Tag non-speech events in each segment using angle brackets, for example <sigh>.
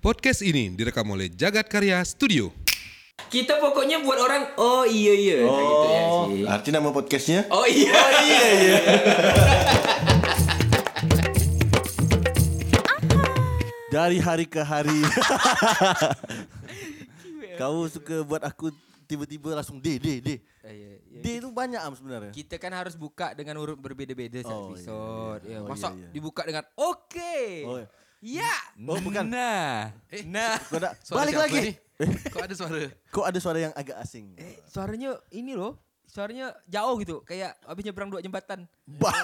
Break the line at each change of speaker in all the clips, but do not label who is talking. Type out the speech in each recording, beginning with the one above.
Podcast ini direkam oleh Jagat Karya Studio.
Kita pokoknya buat orang oh iya iya Nah, gitu ya
Oh,
sih.
arti nama podcastnya?
Oh iya <laughs> iya
Ya,
iya.
Dari hari ke
<laughs>
hari. Kau suka buat aku tiba-tiba langsung D, D, D. D itu banyak am sebenarnya.
Kita kan harus buka dengan huruf berbeda-beda setiap
Oh, iya,
episode.
iya.
Ya,
Oh,
masa
iya, iya.
dibuka dengan oke.
Oh, iya.
Ya.
Oh, bukan. Eh,
Nah.
<laughs>
Nah.
Kau nak
Suara
balik
siapa
lagi.
ni? Kok ada
<laughs>
suara?
Kau ada suara yang agak asing.
Eh. Suaranya ini loh. Suaranya jauh gitu, kayak habis nyebrang dua jembatan.
Bah.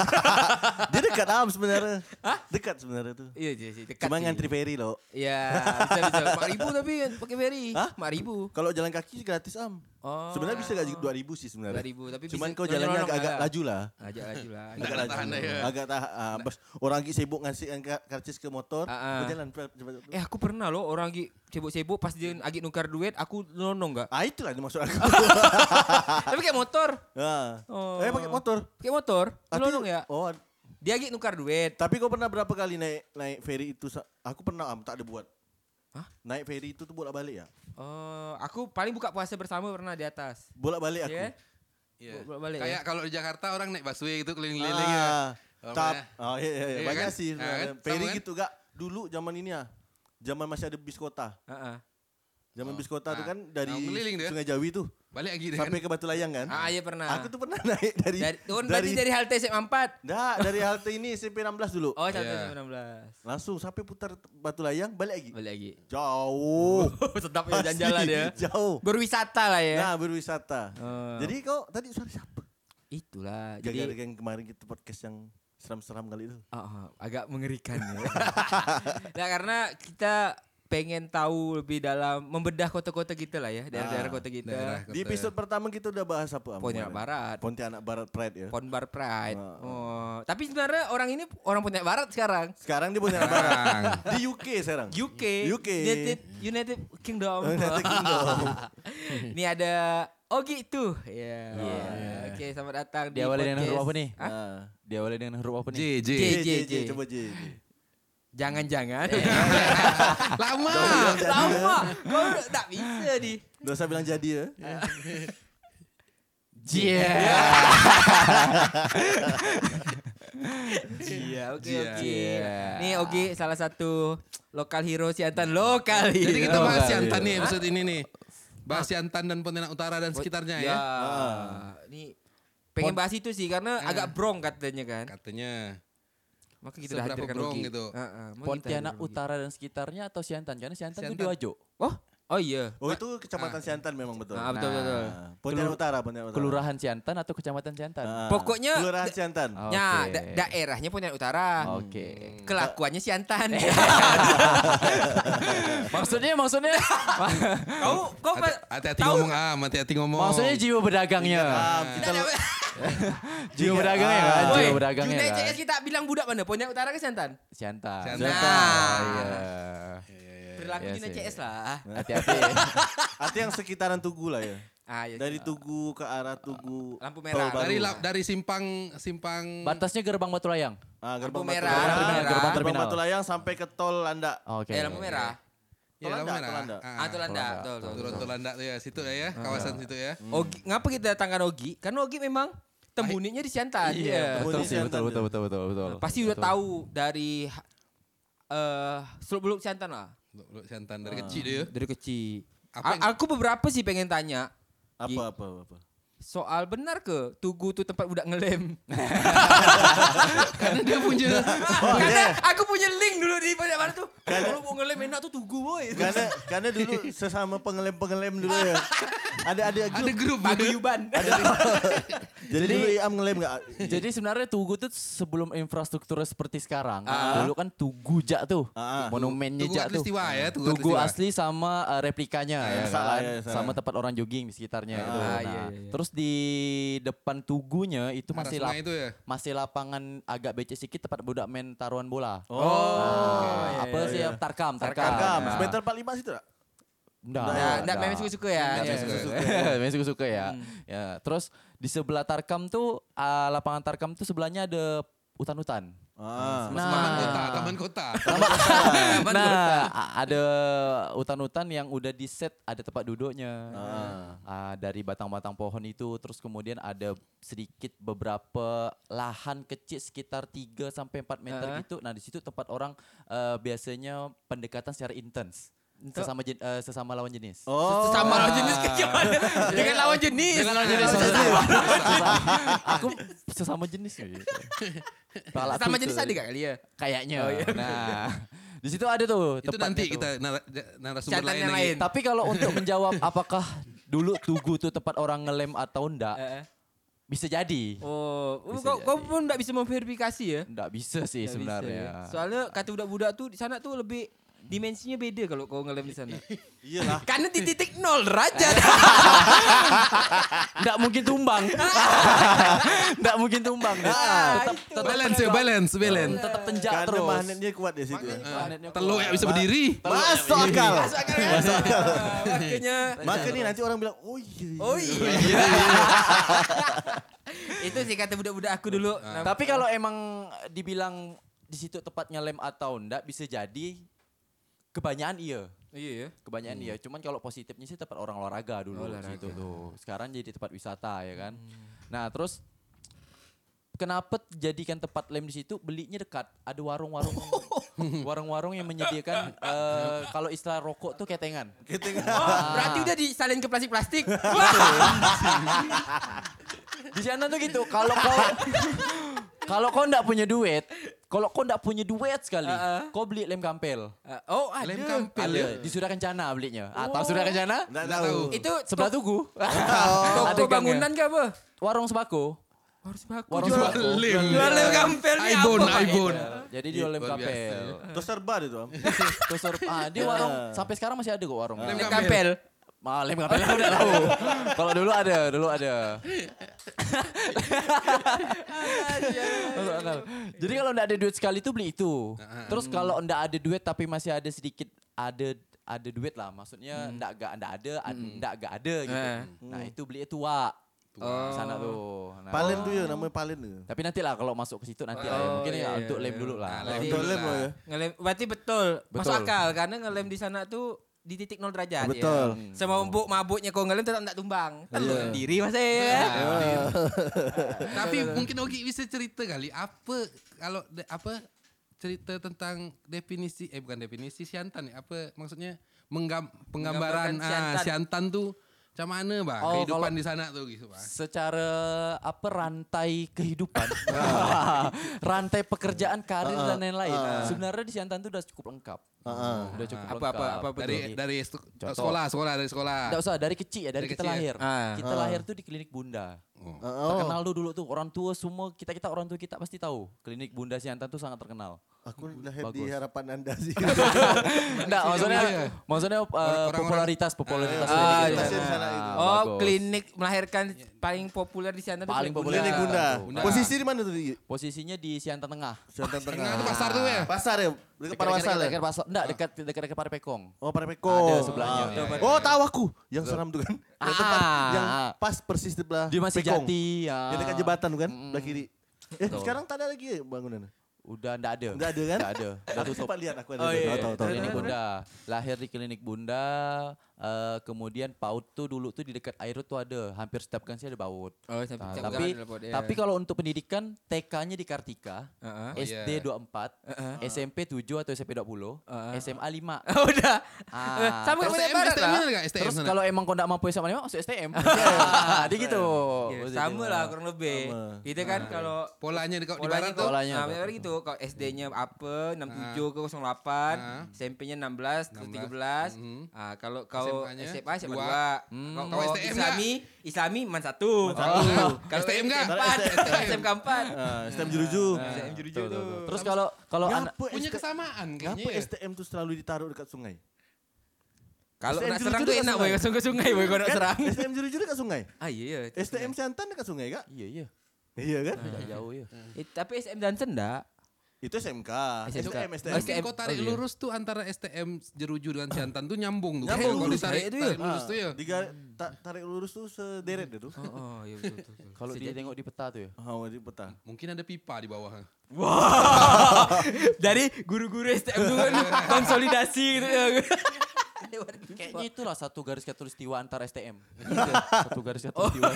<laughs> Dia dekat am sebenarnya. Dekat sebenarnya tu.
Iya, iya, iya. dekat
Cuma
sih.
ngantri peri loh.
Iya, bisa bisa. Mak ribu tapi pakai ferry.
Hah?
Mak ribu.
Kalau jalan kaki gratis am.
Oh.
Sebenarnya bisa gaji 2000 sih sebenarnya.
2000, tapi
Cuman
bisa
kau jalannya
nyolong-nyolong
agak, agak
lah.
laju lah.
Ajak laju lah.
Agak
Nak
laju.
tahan dia.
Agak tahan. ah, bas, orang lagi sibuk ngasih angka- karcis ke motor.
Ah, ah.
Kau jalan cepat-cepat.
Eh aku pernah loh orang lagi sibuk-sibuk pas dia lagi nukar duit aku nonong gak?
Ah itulah dia maksud
<laughs>
aku.
Tapi kayak motor.
ah.
Oh.
Eh pakai motor.
Kayak motor.
Tapi-
Nonong ya.
Oh,
Dia lagi nukar duit.
tapi kau pernah berapa kali naik naik ferry itu? Sa- Aku pernah am, tak ada buat.
Hah?
Naik ferry itu tuh bolak-balik ya?
Oh, aku paling buka puasa bersama pernah di atas.
Bolak-balik Iya, aku. Iya.
Ya.
Ya.
Bolak-balik,
Kayak kalau di Jakarta orang naik busway itu keliling-keliling ya.
Ah,
Orang
tap.
mana?
Oh iya, iya, iya.
Iya
banyak
kan?
sih.
Ah,
sebenarnya.
kan? Sama
Ferry
kan?
gitu gak? Dulu zaman ini ya. Zaman masih ada bis kota.
Heeh.
Zaman
Oh,
bis kota tuh
ah.
kan dari
Nah, keliling dia.
Sungai Jawi tuh.
Balik lagi dia kan. nah.
Sampai ke Batu Layang kan?
Ah, iya pernah.
Aku tuh pernah <laughs> naik dari
Dari, oh, berarti dari halte SM4.
Nggak, dari halte ini SMP 16 dulu.
Oh, halte
Iya.
SM16.
Langsung sampai putar Batu Layang balik lagi.
Balik <laughs> lagi.
Jauh.
Sedap ya
<laughs> Asli,
jalan-jalan ya.
Jauh.
Berwisata lah ya.
Nah, berwisata.
Oh.
Jadi kau tadi suara siapa?
Itulah.
Gara-gara
Jadi
yang kemarin kita podcast yang seram-seram kali itu.
ah, ah, agak mengerikan ya. <laughs> nah, karena kita pengen tahu lebih dalam membedah kota-kota kita lah ya, daerah-daerah
Ah,
kota kita.
Daerah kota.
Di episode pertama kita udah bahas apa? Am,
Pontianak
kemarin?
Barat.
Pontianak Barat Pride ya.
Ponbar Pride.
Ah.
Oh, tapi sebenarnya orang ini orang Pontianak Barat sekarang.
Sekarang di Pontianak Barat. Di UK sekarang.
UK,
UK.
United, United Kingdom.
United
<laughs>
Kingdom.
Ini ada Ogi tuh. Ya. Oke, selamat datang di
Diawali dengan
podcast.
huruf apa nih?
Hah?
Ah.
Diawali dengan huruf apa
J
nih?
J.
J.
J, J, J. Coba J. J.
Jangan-jangan.
Lama.
<laughs> Lama. Kau udah- tak bisa di.
Nggak usah bilang jadi
<laughs>
ya.
Jia. Jia, oke
Jia.
oke.
Iya.
Nih Ogi salah satu lokal hero Siantan lokal hero.
Jadi kita bahas ya,
Iya. Ah.
Yantan nih episode ini nih. Bahas Yantan dan Pontianak Utara dan sekitarnya
iya.
ya.
Nih pengen bahas itu sih karena
Ah.
agak brong katanya kan.
Katanya.
Maka kita dah
Seberapa
hadirkan
brong
Ogi. Ah,
gitu.
Heeh, maka kita
Pontianak
hadirkan Ogi.
Utara dan sekitarnya atau Siantan? Karena Siantan, itu
Siantan.
di Wajo.
Oh, oh iya.
Oh itu kecamatan Siantan memang betul.
Ah, betul, betul, betul.
Nah, Pontianak
Kelur-
Utara, Pontianak Utara.
Kelurahan Siantan atau Kecamatan Siantan?
Ah,
Pokoknya-
Kelurahan Siantan.
Ah.
Ya,
Oke.
da- daerahnya Pontianak Utara.
Ah, Oke. Iya.
Kelakuannya Siantan.
maksudnya maksudnya
<laughs> kau kau
Hati-
pa-
Hati-hati
tahu-
ngomong ah, hati-hati ngomong.
maksudnya jiwa berdagangnya.
Ah,
Kita
kita
ada-
Jiwa berdagangnya kan?
Ah.
Jiwa
Woi,
berdagangnya
Junai
kan?
CS kita bilang budak mana? Pontianak Utara ke Siantan?
Siantan.
Siantan.
Nah.
Iya.
Perilaku
Iya
Junai
sih.
CS lah.
Hati-hati.
artinya yang sekitaran Tugu lah ya.
Ah, iya.
Dari Tugu ke arah Tugu.
Lampu merah.
Tol baru.
dari lap- dari simpang simpang
Batasnya gerbang Batu Layang.
Ah, gerbang
Lampu
Batu
merah.
Layang.
Gerbang
Gerbang
terminal.
Gerbang Batu Layang sampai ke tol Landa.
Oke.
Eh, lampu merah.
ya,
Tolanda,
lampu merah.
Tolanda.
Ah,
Ah, Tolanda.
Tolanda.
Betul, betul,
Turun
betul.
Tolanda tuh ya, situ ya,
Ah.
ya, kawasan situ ya.
Hmm. Ogi, ngapa kita datangkan Ogi? Karena Ogi memang tembunyinya di Siantan. Iya.
Betul sih,
Siantan
betul,
dia.
betul, betul, betul, betul.
Pasti udah tahu dari eh seluk beluk Siantan lah.
Lu, lu Siantan
Ah.
dari kecil ya. dia.
Dari kecil.
Iya. Apa
A- aku beberapa sih pengen tanya
Apa apa apa.
soal benar ke Tugu tuh tempat budak ngelem.
Karena dia punya
Karena aku punya link dulu di banyak mana tuh. Kalau mau ngelem enak tuh Tugu boy.
Karena karena dulu sesama pengelem-pengelem dulu ya. Ada ada
ada
grup.
grup dia.
Paguyuban.
Jadi dulu Iam ngelem enggak?
Jadi sebenarnya Tugu tuh sebelum infrastrukturnya seperti sekarang,
Ah.
dulu kan Tugu Jak tuh,
Ah.
monumennya
Tugu
Jak tuh.
Khatulistiwa ya, Tugu
Tugu,
Khatulistiwa.
asli sama uh, replikanya ya
yang salah,
kan?
ya, yang salah.
sama tempat orang jogging di sekitarnya gitu.
Ah,
Nah,
iya, iya, iya.
Terus di depan Tugunya itu
Arah
masih
sungai
lap-
itu ya?
masih lapangan agak becek sikit tempat budak main taruhan bola.
Oh.
Ah,
iya,
apa
iya,
sih
iya.
yang tarkam, tarkam.
Tarkam,
Nah.
meter 45 situ tak?
Nggak,
Nah, enggak main suka-suka ya.
Nggak,
Iya.
main suka-suka. <laughs> Main suka-suka ya. Ya, eh, terus di sebelah Tarkam tuh ah, lapangan Tarkam tuh sebelahnya ada hutan-hutan.
Ah.
Nah.
Taman kota, taman kota.
Taman kota.
Nah, a- ada hutan-hutan yang udah di set ada tempat duduknya. Ah, dari batang-batang pohon itu terus kemudian ada sedikit beberapa lahan kecil sekitar 3 sampai 4 meter
Ah.
gitu. Nah, di situ tempat orang eh, biasanya pendekatan secara intens
Untuk-
sesama jen- eh, sesama lawan jenis. <laughs>
Oh.
Sama lawan jenis kayak gimana? Dengan lawan jenis.
Dengan lawan jenis.
Aku sesama jenis gitu. Palak
Sama
tuh
jenis
tuh.
ada gak kali ya?
Kayaknya. Nah, di situ ada tuh
Itu
tempatnya
nanti
tuh.
kita nara- narasumber
Catatan
lain
yang
lagi.
lain.
Tapi kalau untuk menjawab apakah dulu Tugu tuh tempat orang ngelem atau enggak,
Eh, eh.
bisa jadi.
Oh,
Bisa
kau, kau
jadi.
pun gak bisa memverifikasi ya?
Enggak bisa
Nggak bisa
sih
ya.
sebenarnya.
Soalnya kata budak-budak tuh di sana tuh lebih dimensinya beda kalau kau ngelem di sana. Eh,
Iyalah.
<laughs> Karena di titik nol <laughs> derajat.
Enggak mungkin tumbang. Enggak mungkin tumbang. Tetap tetap
Balance ya, balance, balance.
tetap tenjak
Karena
terus.
magnetnya kuat di situ.
Eh,
Magnetnya
Telur
kuat.
yang bisa berdiri.
Masuk
Iya.
akal. Iya.
Masuk akal kan? <laughs> Ah, Makanya.
Maka ni nanti orang bilang, oh iya. iya."
Oh iya. <laughs> Itu sih kata budak-budak aku dulu. Nah,
Tapi kalau emang dibilang di situ tempat ngelem atau enggak bisa jadi kebanyakan iya.
Iya ya.
Kebanyakan iya. Cuman kalau positifnya sih tempat orang olahraga dulu gitu tuh. Sekarang jadi tempat wisata ya kan. Nah, terus kenapa jadikan tempat lem di situ belinya dekat ada warung-warung warung-warung yang menyediakan eh, kalau istilah rokok tuh ketengan
Oh, berarti udah disalin ke plastik-plastik. <laughs>
di sana tuh gitu kalau kau kalau kau ndak punya duit kalau kau ndak punya duit sekali
Ah, ah.
kau beli lem kampel
Ah, oh, ada.
Lem kampil ya.
Ada, di Surya Kencana belinya. Atau Surya Kencana?
Tak tahu.
Itu
Sebelah Tugu.
toko
Ada gangnya.
bangunan ke apa?
Warung Sembako.
Harus baku.
Warung
Jual
Sembako.
Lem.
jual lem kampil ni apa?
Ah, Ibon, Ibon.
Eh,
Jadi dia lem
Luar biasa.
kapel.
Toaster bar itu. Am.
<laughs> Terus sur- ah, dia warung sampai sekarang masih ada kok warung.
Ya. Lem
Lem
kampil.
Ah, lem kapel aku udah
<laughs>
tahu. Kalau dulu ada, dulu ada. Masuk akal. Jadi kalau ndak ada duit sekali tuh beli itu.
Ah,
Terus kalau ndak ada duit tapi masih ada sedikit ada ada duit lah. Maksudnya ndak gak ndak ada, ad- ndak gak ada gitu.
Hmm. Eh.
Nah, itu beli itu wak.
Oh.
Sana tuh. Nah.
Palen tu ya, nama Palen tu.
Tapi nantilah kalau masuk ke situ nanti lah. ya.
Oh,
Mungkin ya
iya,
untuk lem
iya.
dulu lah.
Nah,
lem.
Betul lem lah ya.
Ngelem berarti betul. Masuk
Betul.
akal karena ngelem di sana tuh di titik nol derajat ya.
Betul.
Sama mabuk mabuknya kau ngelem tetap tak tumbang. Telur
Iya.
sendiri masa ya.
Tapi mungkin Ogi bisa cerita kali apa kalau de- apa cerita tentang definisi eh bukan definisi siantan ya apa maksudnya menggam, penggambaran
Menggambarkan
ah,
siantan.
siantan tuh macam mana bang
Oh,
kehidupan
kalau-
di sana tuh gitu bang.
Secara apa rantai kehidupan, <laughs> rantai pekerjaan, karir dan lain-lain. Sebenarnya di Siantan itu udah cukup lengkap.
Ah,
Udah cukup
Apa,
lengkap.
apa, apa, apa
Dari dari stu-
Contoh.
sekolah sekolah dari sekolah.
Nggak usah dari kecil ya, dari,
Dari
kita
kecil ya?
lahir.
Ah.
Kita lahir tuh di klinik Bunda.
Oh.
Terkenal tuh dulu tuh orang tua semua kita kita orang tua kita pasti tahu klinik Bunda Siantan tuh sangat terkenal.
Aku lahir di
Bagus. Iya,
harapan anda sih.
Nah,
Enggak, Nah, maksudnya maksudnya uh,
Orang-orang-
popularitas
iya.
popularitas
Ah,
klinik
iya.
itu.
Popularitasnya di sana itu.
Oh,
Ya, Bagus.
klinik melahirkan paling populer di sana tuh
Paling
klinik
populer.
Klinik Bunda.
Bunda.
Posisi di mana tu? Di
Posisinya di Siantan Tengah.
Siantan
Tengah
Tengah.
tu pasar tu ya.
Pasar ya? Dekat Parwasal
Dekat-
ya?
Dekat pasar.
Ah.
Enggak, dekat dekat dekat Parepekong.
Oh, Parepeko.
Ada sebelahnya. ya,
Ah, Oh, tahu aku. Yang seram tu kan. Yang tempat
Ah.
yang pas persis di belah
Dia masih
Pekong.
jati. Ya.
Yang dekat jembatan tu kan, belah kiri. Eh, sekarang tak ada lagi ya bangunan?
Udah enggak ada.
Enggak ada kan?
Enggak
<laughs>
ada. Udah
Aku
tutup.
sempat lihat aku ada.
Oh,
tu.
iya,
Tahu,
iya.
tahu, tahu,
Klinik
tahu.
Bunda. Lahir di klinik Bunda. eh, kemudian PAUD tuh dulu tuh di dekat air tuh ada. Hampir setiap kan sih ada PAUD.
Oh, tapi
Nah, tapi
iya.
tapi kalau untuk pendidikan TK-nya di Kartika,
Heeh.
SD 24,
Uh-huh.
SMP 7 atau SMP 20,
Heeh.
SMA
<laughs>
5.
Uh-huh. Oh, udah.
Ah,
Sama
Terus
kayak
STM,
Medan Barat
STM
lah.
mana kak? STM
Terus
mana?
kalau emang kau enggak mampu SMA 5 masuk
<laughs>
STM. Ah, Dia gitu.
Ya, sama lah kurang lebih.
Sama.
Kita kan kalau
polanya di, di barat
polanya
tuh.
kok-
Polanya
Nah,
apa?
polanya gitu. Kalau SD-nya apa? 67 ke 08, SMP-nya 16 terus 13. Ah, kalau kau
SMA-nya
SMA SMA
dua.
2. Kalau kau
STM nggak?
Islami, Islami man 1.
Oh.
Kalau
STM
STM
nggak?
4, <laughs> SMK 4.
Ah, STM
Nah,
Jeruju.
STM jujur
Betul, betul.
tuh.
Terus kalau kalau
Ya.
anak
Ngapa
Punya
STM
kesamaan
Ngapa
kayaknya. ya.
STM tu selalu ditaruh dekat sungai?
Kalau
STM
nak
jujur
serang
juga
tuh enak boy,
senang.
langsung ke sungai boy
<laughs>
kalau nak
Kan,
serang.
STM Jeruju dekat sungai.
Ah iya iya.
STM Siantan dekat sungai kak?
Iya iya,
Ah.
Iya kan?
Hmm.
tidak jauh ya.
Eh, tapi SM Johnson enggak?
Itu SMK.
SMK.
STM, STM.
STM.
Mungkin kau tarik
Oh, iya.
Nah, lurus tuh antara STM Jeruju dengan Siantan tuh nyambung tuh.
Nyambung Ah.
Kalau
lurus,
ditarik
kayak itu ya.
tarik lurus tuh ya.
Diga- ta- tarik lurus tuh sederet dia tuh.
Oh, oh iya betul betul.
<laughs>
betul.
Kalau dia tengok di peta tuh ya.
Ah.
Oh, di peta.
Mungkin ada pipa di bawah.
Dari guru-guru STM dulu kan konsolidasi gitu ya.
Kayaknya itulah satu garis katulistiwa antar STM. Gitu. satu garis
Oh.
katulistiwa.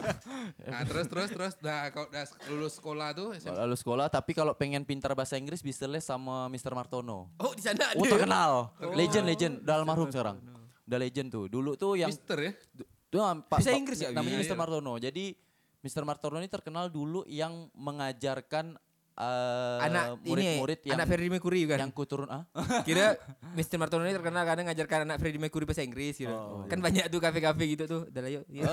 <laughs>
Nah, terus terus terus dah kau dah lulus sekolah tuh SMK.
Lalu sekolah tapi kalau pengen pintar bahasa Inggris bisa les sama Mr. Martono.
Oh di sana ada.
Oh terkenal. Legend legend. Udah almarhum sekarang. Udah legend tuh. Dulu tuh yang
Mister ya.
Tuh, ah, Pak,
Bisa
Pak-
Inggris ya?
Namanya
Iya,
Mr.
iya.
Martono. Jadi Mr. Martono ini terkenal dulu yang mengajarkan eh,
anak ini
murid-murid yang
anak Freddie Mercury kan.
yang kuturun ah.
<laughs> Kira Mr. Martono ini terkenal karena ngajarkan anak Freddie Mercury bahasa Inggris gitu. kan banyak tuh kafe-kafe gitu tuh. Dalah <laughs> yuk. Iya.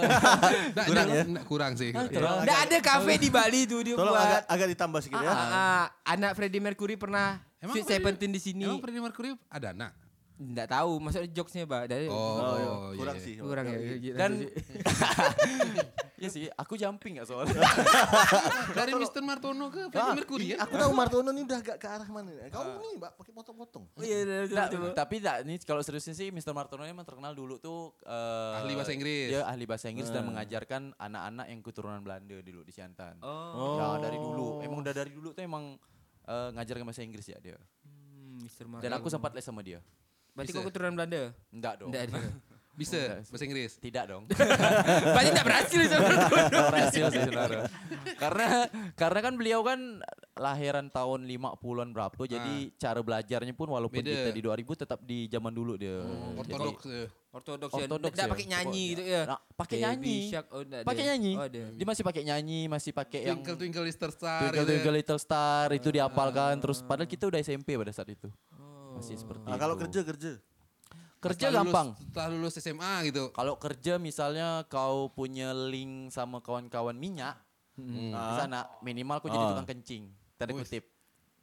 Nah,
Kurang
nah,
ya?
nah, kurang sih.
Terkenal.
Nggak ada kafe di Bali tuh dia
Tolong
buat.
agak, agak ditambah sikit ya.
Ah, ah, anak Freddie Mercury pernah Emang Sweet
Freddie-
Seventeen di sini.
Emang Freddie Mercury ada anak?
Nggak tahu, maksudnya jokesnya Pak. Dari
Oh,
iya.
iya,
kurang
iya.
sih.
kurang ya.
Dan Iya sih, aku jumping gak soalnya.
Nah, Dari Mr. Martono ke
Ah,
Freddie Mercury ya?
Aku tahu Martono ini udah agak ke arah mana.
Ah.
Kamu nih, Mbak, pakai potong-potong.
Oh, <laughs> iya, iya, iya,
Nah,
betul.
tapi tak ini kalau seriusnya sih Mr. Martono emang terkenal dulu tuh eh,
Ahli bahasa Inggris. Hmm.
Dia ahli bahasa Inggris dan mengajarkan anak-anak yang keturunan Belanda dulu di Siantan.
Oh,
Ya,
Nah, dari dulu, emang udah dari dulu tuh emang eh, ngajarkan bahasa Inggris ya dia.
Mr.
Dan aku sempat les sama dia.
Berarti
Bisa.
kau keturunan Belanda?
Enggak dong.
Nggak ada.
Bisa bahasa Inggris.
Tidak
<laughs>
dong.
Berarti nggak berhasil Mr. Martono.
berhasil sih saudara. karena karena kan beliau kan lahiran tahun 50-an berapa jadi cara belajarnya pun walaupun
Ah. Beda.
kita di 2000 tetap di zaman dulu dia.
Ortodoks. eh.
Ortodoks ya.
Ortodoks.
Nggak
ya,
pakai nyanyi
pokoknya.
gitu ya.
Nah, pakai
Baby
nyanyi.
Shark, oh, nggak ada.
Pakai nyanyi.
Oh, ada.
Dia masih pakai nyanyi, masih pakai yang
Twinkle Twinkle Little Star.
Twinkle
gitu. Ah.
Twinkle Little Star itu dihafalkan terus padahal kita udah SMP pada saat itu.
Oh.
Masih seperti
Gitu.
Ah, kalau
itu.
kerja kerja.
kerja
Setelah lulus-
gampang.
Setelah lulus SMA gitu.
Kalau kerja misalnya kau punya link sama kawan-kawan minyak di sana minimal kau jadi
Hmm. Ah.
tukang kencing. Tanda kutip.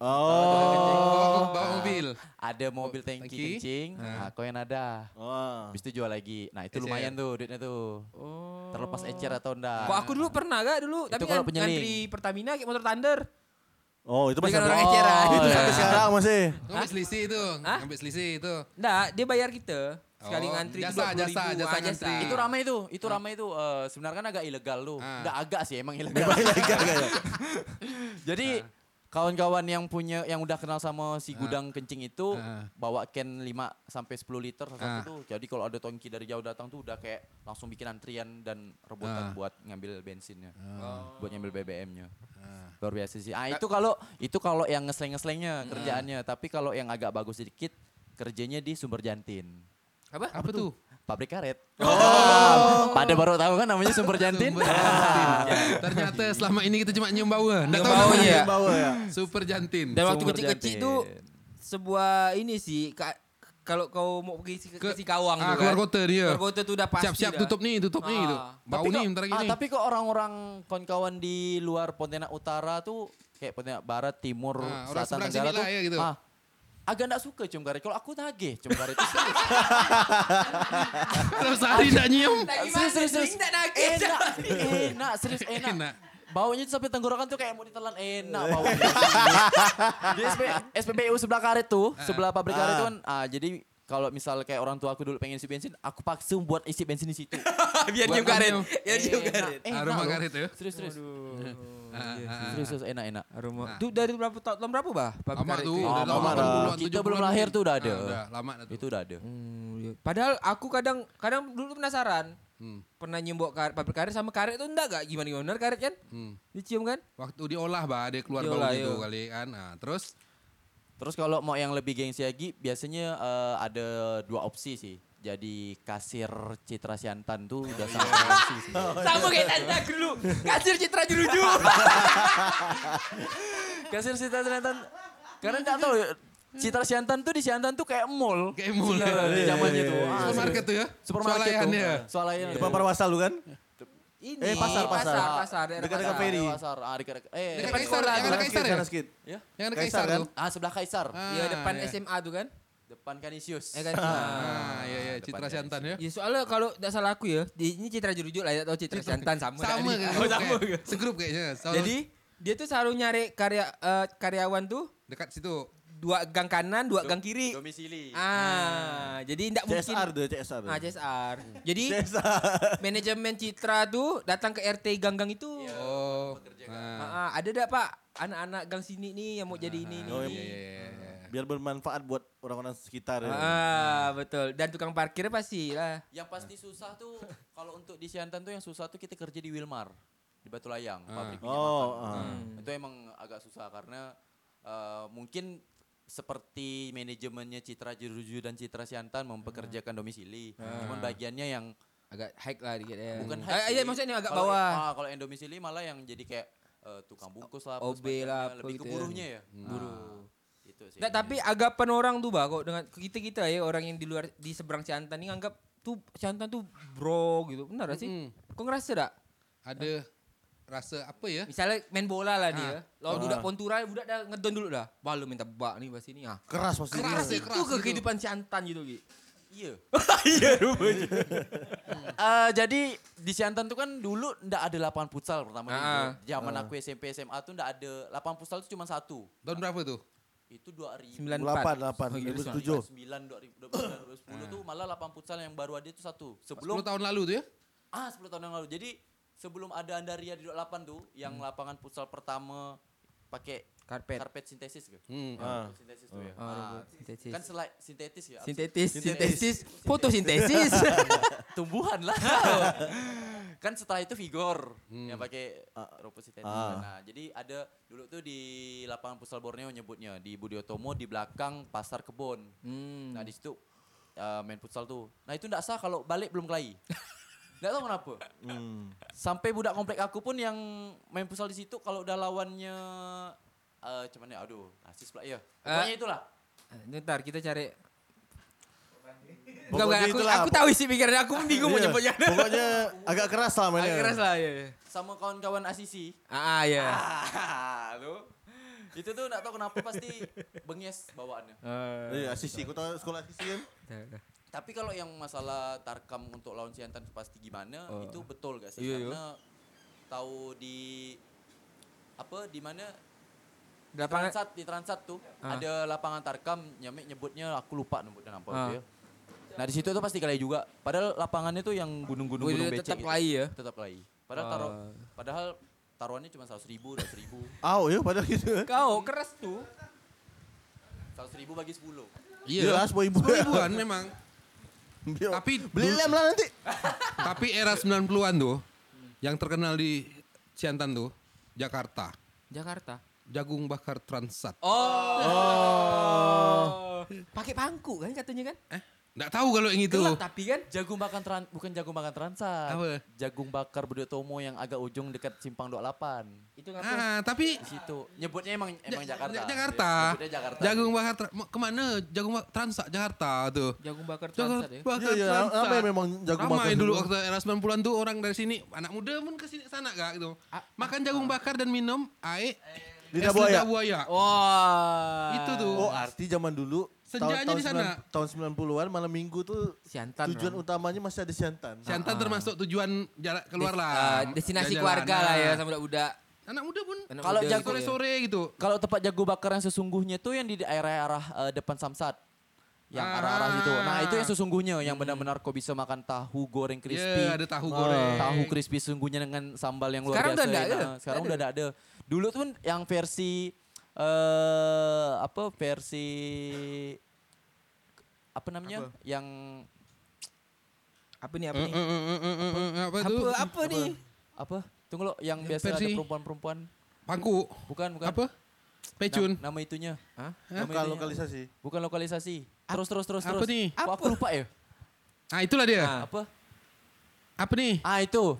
Oh. Ah.
Oh. Bawa mobil. Oh,
Ada mobil tangki,
tangki.
kencing,
Ah.
nah, kau yang ada.
Oh.
Habis itu jual lagi. Nah, itu
Ecer.
lumayan tuh duitnya tuh.
Oh.
Terlepas
Oh.
ecer atau enggak.
Kok aku dulu pernah gak dulu? Tapi
kalau
kan
penyeling.
ngantri Pertamina kayak motor Thunder.
Oh, itu masih
Belikan orang
sampai-
eceran.
Oh, itu
Iya.
sampai sekarang masih. <laughs>
Ngambil selisih itu.
Hah?
Ngambil selisih itu.
Nggak, dia bayar kita. Sekali
Oh,
ngantri
jasa,
itu 20.000.
jasa,
Ah,
jasa ngantri.
Itu ramai tuh, itu ramai tuh. Eh, sebenarnya kan agak ilegal tuh.
Ah.
Enggak agak sih
<laughs>
emang ilegal. Jadi kawan-kawan yang punya yang udah kenal sama si gudang kencing itu
Ah.
bawa can 5 sampai 10 liter salah
Ah.
satu tuh. Jadi kalau ada tongki dari jauh datang tuh udah kayak langsung bikin antrian dan rebutan
Ah.
buat ngambil bensinnya. Buat ngambil BBM-nya. Luar biasa sih. Ah itu kalau itu kalau yang ngesleng-ngeslengnya kerjaannya, tapi kalau yang agak bagus sedikit kerjanya di Sumber Jantin.
Apa?
Apa tuh?
Pabrik karet. <laughs> Pada baru tahu kan namanya Sumber Jantin. Nah.
Sumber jantin.
Ah.
Ternyata selama ini kita cuma nyium bau. Nggak
Nyium
tahu
bau,
namanya.
iya.
Bawa ya.
Super jantin.
Dan waktu
Sumber
kecil-kecil
jantin.
tuh sebuah ini sih ka- kalau kau mau pergi si- ke,
Ke-
si Kawang
ah,
tuh
keluar
kan.
kota dia.
Keluar kota tuh udah pasti.
Siap-siap
dah.
tutup nih, tutup nih
Ah.
gitu. Bau
kok-
nih bentar lagi
ah,
nih. <laughs>
tapi kok orang-orang kawan-kawan di luar Pontianak Utara tuh kayak Pontianak Barat, Timur,
Ah, orang
Selatan,
seberang
Tenggara
sini
tuh
lah ya gitu.
ah, agak nggak suka cium karet. Kalau aku nagih cium karet.
<laughs>
Itu serius. <laughs>
Kalau
ah,
sehari nggak nyium.
Tak gimana, sering tak nagih.
Enak, enak, serius enak.
Enak. Eh.
Baunya tuh sampai tenggorokan tuh kayak mau ditelan enak baunya. di SP, SPBU sebelah karet tuh, sebelah pabrik karet tuh kan, ah, jadi kalau misal kayak orang tua aku dulu pengen isi bensin, aku paksa buat isi bensin di situ.
<laughs> Biar
Buat
nyium karet.
nyium.
Biar nyium
Enak,
karet.
enak
Aroma
loh.
karet ya?
Serius, serius.
iya.
iya,
ah,
Serius, serius, enak, enak.
Aroma. Itu dari berapa tahun tahun berapa, Bah? Pabrik
Lama
karet
tuh.
itu?
Ah,
udah
lama
lama
dah.
80-an,
Kita belum
70-an
lahir
mungkin.
tuh udah ada.
Ah, Udah lama dah tuh.
Itu udah ada.
Hmm, iya. Padahal aku kadang kadang dulu penasaran. Pernah nyium bau karet, pabrik karet sama karet tuh enggak gak gimana gimana bener karet kan?
Hmm.
Dicium kan?
Waktu diolah bah, dia keluar
Diolah,
baunya tuh
iya.
kali kan. Nah,
Iya,
terus
Terus kalau mau yang lebih gengsi lagi, biasanya eh, ada dua opsi sih. Jadi kasir Citra Siantan tuh udah sangat gengsi sih.
Sama kayak tanda dulu. Kasir Citra Juruju.
Kasir Citra Siantan, karena nggak tahu ya, Citra Siantan tuh di Siantan tuh kayak mall. Iya,
kayak mulai.
Di zamannya tuh. Ah,
Supermarket tuh ya.
Supermarket
Soalayan
tuh. Ah.
dia.
Soalayan.
Depan Parwasal lu kan?
Ini
Eh, pasar, pasar.
pasar, pasar daerah
Dekat-dekat
pasar.
Ferry.
Pasar, ah, dekat- eh,
Dekat
dekat
Kaisar,
sekolah
yang ada
tuh.
Kaisar ya?
Sana sedikit.
Ya?
Yang ada
Kaisar
Kaisar
kan?
tuh.
Ah, sebelah Kaisar.
Iya depan
iya.
SMA tuh kan?
Depan Kanisius.
Eh, kan. Ah.
Ah, iya iya Citra
depannya.
Siantan ya.
Ya soalnya kalau tidak salah aku ya, di- ini Citra Juruju lah, tidak tahu Citra ya, Santan sama. tak
Sama
ni?
kan?
Oh, sama.
Segrup kayaknya. Soal-
Jadi Dia tuh selalu nyari karya eh, karyawan tuh
Dekat situ.
dua gang kanan, dua gang kiri.
<laughs> Domisili.
Ah, jadi tidak mungkin.
CSR deh, CSR.
Ah, CSR. Jadi <laughs>
CSR.
manajemen Citra tuh datang ke RT gang-gang itu.
Oh. ah.
Ah, ah, ada enggak Pak anak-anak gang sini nih yang mau jadi ini ini?
Oh,
ini?
iya, Biar bermanfaat buat orang-orang sekitar. ya.
Ah, betul. Dan tukang parkir pasti lah.
Yang pasti susah tuh kalau untuk di Siantan tuh yang susah tuh kita kerja di Wilmar di Batu Layang pabrik minyak
Oh,
makan.
ah.
Hmm. Itu emang agak susah karena eh, mungkin seperti manajemennya Citra Jeruju dan Citra Siantan
Hmm.
mempekerjakan domisili. Cuman bagiannya yang
Agak high lah dikit ya.
bukan
Ah,
high
Hmm. iya,
sih.
maksudnya agak
Kalau-
bawah.
ah, kalau yang domisili malah yang jadi kayak eh, tukang bungkus lah, apa
OB lah,
semacamnya.
apa
lebih ke
gitu ya.
buruhnya ya.
Buruh.
Ah, itu sih.
Nggak, tapi anggapan orang tuh bah kok dengan kita kita ya orang yang di luar di seberang Ciantan ini anggap tuh Ciantan tuh bro gitu benar nggak sih? Kok ngerasa tak?
Ada rasa apa ya?
Misalnya main bola lah dia, lawan
Ah.
budak Pontura budak dah ngedon dulu dah. Balu minta bak nih bahas ini ah.
Keras pasti.
Keras
dia.
itu
Keras
ke
itu.
kehidupan Ciantan gitu Gi.
iya.
<laughs> Iya rupanya.
<laughs> Eh, jadi di Siantan tuh kan dulu ndak ada lapangan futsal pertama
Ah.
dulu. Zaman aku SMP SMA tuh ndak ada lapangan futsal tuh cuma satu.
Tahun berapa tuh?
Itu 2009
94.
88,
Oh, iya,
2007.
2009 2010 tuh malah lapangan futsal yang baru ada itu satu. Sebelum
10 tahun lalu tuh ya?
ah 10 tahun yang lalu. Jadi sebelum ada Andaria di 28 tuh yang lapangan futsal pertama pakai
Karpet.
karpet sintesis ke?
Hmm.
Ah.
Karpet Sintesis tuh ya.
Ah,
Ah,
sintesis.
Kan selai sintetis ya.
Sintetis,
Sintetis.
sintesis, fotosintesis.
tumbuhan lah. kan setelah itu vigor yang pakai rumput sintetis.
Ah.
Nah, jadi ada dulu tuh di lapangan futsal Borneo nyebutnya di Budi Otomo di belakang Pasar Kebon.
Hmm.
Nah, di situ eh, main futsal tuh. Nah, itu enggak sah kalau balik
<laughs>
belum kelahi. Enggak tahu kenapa.
Hmm.
Sampai budak komplek aku pun yang main futsal di situ kalau udah lawannya eh cuman ya aduh, asis pula
Eh.
ya. Pokoknya itulah.
Ntar kita cari. Enggak,
Pokoknya
enggak, aku,
itulah,
aku
pokok-
tahu isi pikiran aku bingung mau
Iya,
nyebutnya. <laughs>
Pokoknya agak keras lah mainnya.
Agak keras lah ya.
Sama kawan-kawan asisi.
Ah,
<laughs>
ya.
Ah, lu. Itu tuh gak tahu kenapa pasti benges bawaannya.
Eh,
Iya, asisi. Kau tahu sekolah asisi kan?
Tapi kalau yang masalah Tarkam untuk lawan Siantan pasti gimana,
Oh.
itu betul gak sih?
Iya, iya.
Karena tahu di apa di mana
Lapangan
Transat di Transat tuh
Ah.
ada lapangan Tarkam Nyamek nyebutnya aku lupa nyebutnya apa
Ah.
dia. Nah, di situ tuh pasti kalah juga. Padahal lapangannya tuh yang gunung-gunung
Wih,
gunung
dia
becek.
tetap
gitu.
lahi ya?
Tetap lahi. Padahal
Ah.
taruh padahal taruhannya cuma 100 ribu, 200 ribu.
Au, ya padahal gitu.
kau keras tuh.
100 ribu bagi 10.
Iya, lah, sepuluh ribu.
Sepuluh ribuan memang. Tapi
beli
dulu-
lem lah nanti.
Tapi era 90-an tuh yang terkenal di Siantan tuh Jakarta.
Jakarta.
Jagung bakar Transat.
Oh. Pakai pangku kan katanya kan?
Eh, enggak tahu kalau yang itu.
Gelap tapi kan?
Jagung bakar tran bukan jagung bakar transat.
Apa?
Jagung bakar Budi Tomo yang agak ujung dekat simpang 28.
Itu ngapa?
Ah, tapi
Di situ. Nyebutnya emang emang
Ja-
Jakarta.
Ja- Jakarta.
Nyebutnya Jakarta.
Jagung bakar tra- ma- kemana? Jagung bakar Transat Jakarta tuh.
Jagung bakar
Jagung
transat ya.
bakar
Iya, iya,
Transat.
ramai memang jagung
Ramai
bakar
dulu
dulu.
waktu era 90-an tuh orang dari sini, anak muda pun ke sini sana gak gitu.
Ah,
Makan jagung bakar dan minum air
Lidah
es
buaya.
buaya.
Oh, Wah.
Itu tuh.
Oh, arti zaman dulu
Senjanya
tahun,
di sana.
tahun 90-an malam Minggu tuh
Siantan.
tujuan utamanya masih ada siantan.
Siantan termasuk tujuan jarak keluar lah.
Ah, destinasi keluarga lah ya sama budak-budak.
Anak muda pun
Anak
Kalau
muda
jagung-
gitu ya.
sore-sore gitu.
Kalau tempat jagung bakar yang sesungguhnya tuh yang di daerah-arah eh, depan Samsat. Yang
Ah.
arah-arah gitu. Nah, itu yang sesungguhnya yang benar-benar kau bisa makan tahu goreng crispy.
Iya, Ya, ada tahu goreng.
Ah.
Tahu crispy sungguhnya dengan sambal yang luar
Sekarang
biasa.
udah nggak ada?
enak. Sekarang
Nggak
udah ada. ada. Dulu tuh yang versi eh apa versi apa namanya? Yang
Apa nih apa
Eh,
nih?
eh, eh, eh, eh, eh, eh, Apa
Apa
tuh?
apa nih?
apa? Tunggu lo,
Yang
yang biasa ada
versi-
perempuan-perempuan.
Pangku.
Bukan, bukan.
Apa? Pecun.
Nam- nama itunya.
Hah?
Nama
Lokal
itunya.
lokalisasi.
Bukan lokalisasi. Terus terus terus
apa
terus.
nih?
Kok aku lupa ya?
Nah, itulah dia.
Ah.
Apa?
Apa nih?
Ah itu.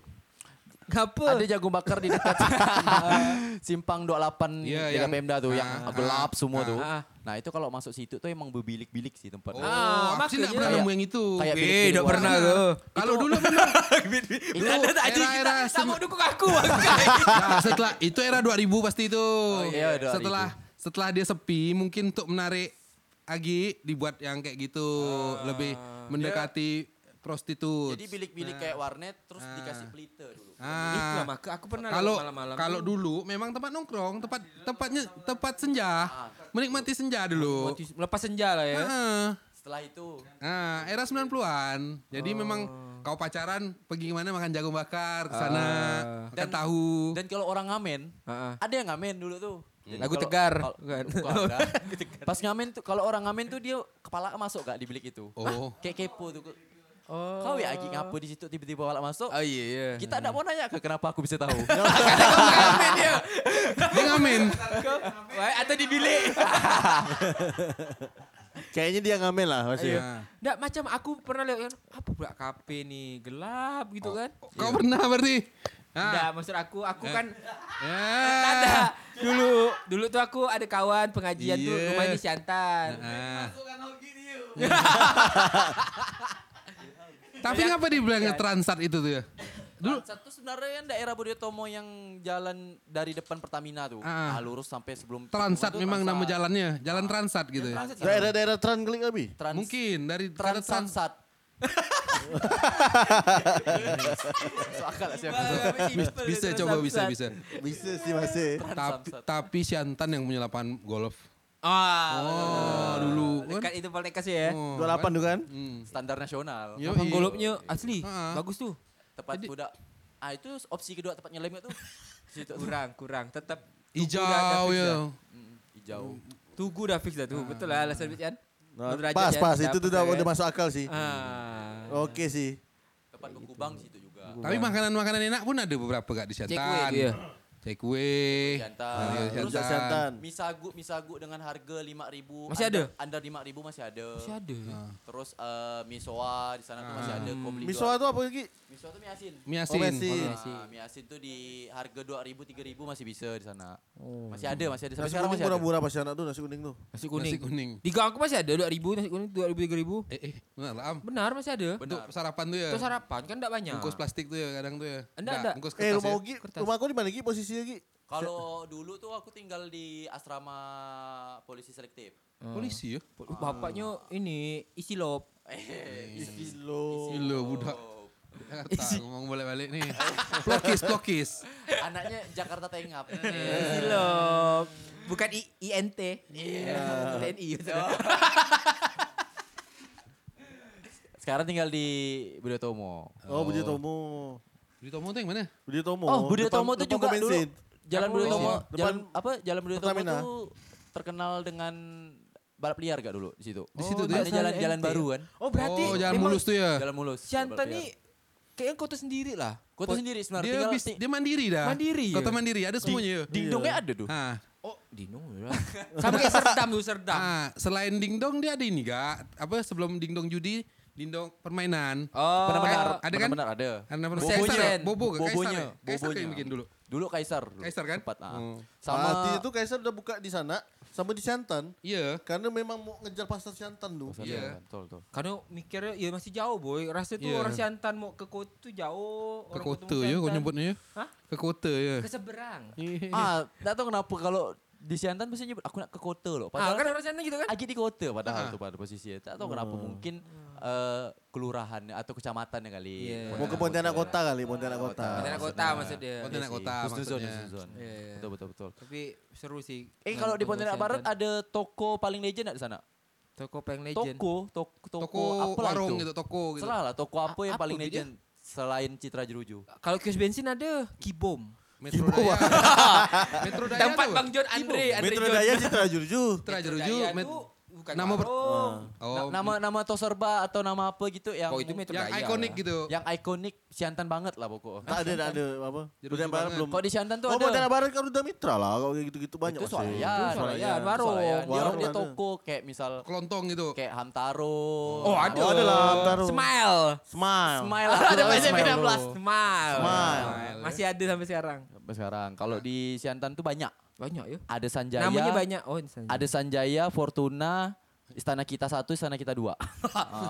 Apa?
Ada jagung bakar di
<laughs>
dekat <laughs> simpang 28
Iya,
dekat
yang-
Pemda tuh yang
Ah,
gelap
ah,
semua
ah,
tuh.
ah.
Nah, itu kalau masuk situ tuh emang berbilik-bilik sih tempat.
Oh,
Ah,
aku sih nggak
makanya.
pernah
Kayak-
nemu yang itu.
kayak
Eh,
bilik-bilik
nggak
warna.
pernah ke.
Kalau dulu benar.
Itu
Nah,
anjing, kita-
Era-era
tak mau
sem- dukung aku. bangsa.
Nah, setelah itu era 2000 pasti itu.
iya, 2000.
Setelah setelah dia sepi mungkin untuk menarik Agi dibuat yang kayak gitu lebih mendekati prostitut.
Jadi bilik-bilik kayak warnet terus
Ah.
dikasih pelita dulu.
Ah,
Itulah maka aku pernah lah
kalau
malam-malam.
kalau
tuh
dulu memang tempat nongkrong, tempat tempatnya tempat senja, menikmati senja dulu.
mati- lepas senja lah ya.
Ah,
Setelah itu
ah, era 90-an. Jadi memang kau pacaran pergi kemana makan jagung bakar ke sana, makan
Dan-
tahu.
dan kalau orang ngamen,
Ah, ah.
ada yang ngamen dulu tuh. Jadi
Lagu
kalau-
Tegar,
kalau-
bukan?
<laughs>
bukan, dah. Pas ngamen tuh kalau orang ngamen tuh dia kepala masuk gak di bilik itu.
Oh.
Kayak kepo tuh. Kau ya Agi ngapa di situ tiba-tiba kepala masuk?
Oh iya iya.
Kita enggak mau nanya ke kenapa aku bisa tahu.
Dia
<laughs>
ngamen.
<laughs> Wah, atau di bilik.
Kayaknya dia ngamen lah
Iya.
masih. ya.
Ah.
Nggak macam aku pernah lihat kan, apa pula kafe nih gelap gitu kan.
Iya.
Kau pernah berarti?
Nggak,
Ah.
maksud aku aku kan
Ya.
ada dulu dulu tuh aku ada kawan pengajian tuh
Iya.
rumahnya di Siantan.
Ah. <laughs>
Iya.
Tapi ngapa dibilang transat itu tuh ya?
Dulu satu sebenarnya kan daerah Budiotomo yang jalan dari depan Pertamina tuh.
Ah.
Ah, lurus sampai sebelum
Transat
Pertamina tuh
memang nama
Transat.
jalannya, jalan transat gitu ya.
Transat.
Daerah-daerah Tran klik abi.
Trans-
Mungkin dari kata
Transat.
trans-
Sat. Masuk akal lah sih aku.
Bisa coba bisa bisa.
Bisa sih eh. masih.
Tapi, tapi Siantan yang punya lapangan golf.
Ah,
Oh, dulu kan.
Dekat itu paling kasih ya.
Oh,
28 tuh kan?
Standar nasional.
Yoi.
Abang golopnya asli,
Ah.
bagus tuh.
Tempat budak. Ah itu opsi kedua tempat nyelam nggak tuh? Situ tuh.
Kurang, kurang. Tetap Tugu dah- dah
Hijau
fix
ya.
dah.
Mm, Hijau.
Tugu dah fix dah tuh. Betul lah alasan Bijan.
Nah,
Derajat
pas
ya,
pas
dapat
itu tuh udah
kan.
udah masuk akal sih.
Ah.
Oke sih.
Tempat Bekubang situ juga.
Tapi makanan-makanan enak pun ada beberapa gak di Siantan.
Takeaway tu ya.
Takeaway.
Jantan.
Dari
Terus
Rujak Siantan.
Misagu, misagu dengan harga 5.000.
Masih ada?
Under 5.000 masih ada.
Masih ada.
Terus eh, misoa di sana tuh masih ada. Kau beli
Misoa tuh apa lagi?
dua- Misoa tuh mie asin.
Mie
Oh,
asin.
asin.
Ah, mie asin tuh di harga 2.000 3.000 masih bisa di sana. Masih ada, masih ada. Sampai
Nasi
sekarang
kuning
masih ada.
murah-murah pas anak tuh nasi kuning tuh.
Nasi kuning.
Nasi kuning.
Di gang aku masih ada 2000 nasi kuning 2000 3000.
Eh, eh, benar lah. Am.
Benar masih ada.
Untuk sarapan tuh ya.
Itu sarapan kan enggak banyak.
Bungkus plastik tuh ya kadang tuh ya.
Enggak, enggak.
Bungkus
Eh
kertas
rumah
ya.
Ugi, rumah aku di mana Gi posisinya Gi?
Kalau dulu tuh aku tinggal di asrama polisi selektif.
Polisi ya.
oh, Bapaknya ini isi lop.
Kilo.
Gila budak. Jakarta ngomong balik-balik nih. Plokis, plokis.
<laughs> Anaknya Jakarta Tengap.
Isi lop. Bukan I INT. Iya. TNI.
Sekarang tinggal di Budotomo.
Oh, Budi Tomo.
Di Tomo tuh yang mana?
Budi Tomo.
Oh, Budotomo
Depan-
tuh
depan
juga
pom
dulu.
bensin.
Jalan
Depan
Budotomo,
polisi.
jalan
Depan
apa? Jalan Budotomo
Pertamina.
tuh terkenal dengan balap liar gak dulu di situ? Oh,
Di situ tuh
Ada
ya?
jalan-jalan
NT.
baru kan?
Oh berarti
oh, jalan
memang
mulus tuh ya.
Jalan mulus.
Siantan
balap liar.
ni kayaknya kota sendiri lah.
kota sendiri sebenarnya
Dia
tinggal
bis,
ti-
dia mandiri dah.
Mandiri ya?
Kota mandiri ada semuanya ya.
dingdongnya ada ya. tuh.
Ah,
Oh, Dino lah. <laughs>
kan?
Sama kayak Serdam tuh Serdam.
ah, selain dingdong dia ada ini gak? Apa sebelum dingdong judi, dingdong permainan.
Oh,
Benar-benar
ada kan?
Benar-benar ada.
Karena
Bobonya.
Kaisar, Bobo, Kaisar,
Bobonya,
ya? Kaisar kayak
bobonya.
bikin dulu.
Dulu Kaisar. dulu.
Kaisar kan?
Sempat, ah.
Hmm.
Sama
Mati itu Kaisar udah buka di sana sama di Siantan.
Iya.
Karena memang mau ngejar pasar Siantan tuh.
Iya,
Iya.
betul betul.
Karena mikirnya ya masih jauh boy. Rasa tuh
Iya.
orang Siantan mau ke kota tuh
Ya.
jauh.
Ke
orang
kota
ketemu
ya, kau
Siantan.
nyebutnya ya.
Hah?
Ke kota ya. Iya.
Ke seberang.
Ah, tak tahu kenapa kalau di Siantan mesti nyebut aku nak ke kota loh.
Ah,
Padahal
kan orang Siantan gitu kan?
Agi di kota
Ah.
padahal tuh pada posisinya.
Hmm.
Tak tahu kenapa mungkin eh, kelurahannya atau kecamatannya kali.
Iya.
Mau ke Pontianak Kota kali, Pontianak Kota.
Pontianak Kota maksudnya.
Pontianak Kota
Iya, Husnuzon,
maksudnya.
husnuzon.
Iya, iya.
Betul betul betul.
Tapi seru sih.
Eh kalau di Pontianak Barat
ada
ada toko paling legend nggak di sana?
toko Peng Legend.
Toko, toko, toko
Toko
apa lah
warung
itu?
gitu, toko gitu.
Salah lah, toko apa
A-
yang
apa
paling
dia?
legend selain Citra Jeruju?
Kalau kios bensin ada Kibom.
Metro Daya. <laughs> Metro Daya
Tempat
tuh.
Bang John Andre, Andre
Metro
John.
Daya Citra Jurju.
Metro Daya
Metro
tuh.
Daya
Met-
tuh bukan
Nama per-
warung.
Oh,
Na- nama nama Toserba atau nama apa gitu yang
Oh, itu Metro
yang
Daya
ikonik
lah.
gitu.
yang ikonik Siantan banget lah pokoknya.
Tak ada, tak ada apa.
Jurju
Pontianak Barat
banget.
belum.
Kalau di Siantan tuh
Nah, Oh, Pontianak
ada.
Barat kan udah mitra lah. Kalau kayak gitu-gitu banyak.
Itu
masih.
Soalayan,
Soalayan, warung.
Soalayan. Dia,
Warung
dia
ada.
toko kayak misal
Kelontong gitu.
kayak Hamtaro.
Ah.
Oh, ada.
Oh, ada lah, Hamtaro.
Smile.
Smile.
Smile.
Oh, Ada
Apa
bahasa
Smile
beda
dulu?
belas. Smile.
Smile.
Masih ada sampai sekarang.
Sampai Sekarang kalau di Siantan tuh banyak.
Banyak ya.
Ada Sanjaya.
Namanya banyak. Oh, ini Sanjaya.
Ada Sanjaya, Fortuna, Istana kita satu, istana kita
<laughs>
dua.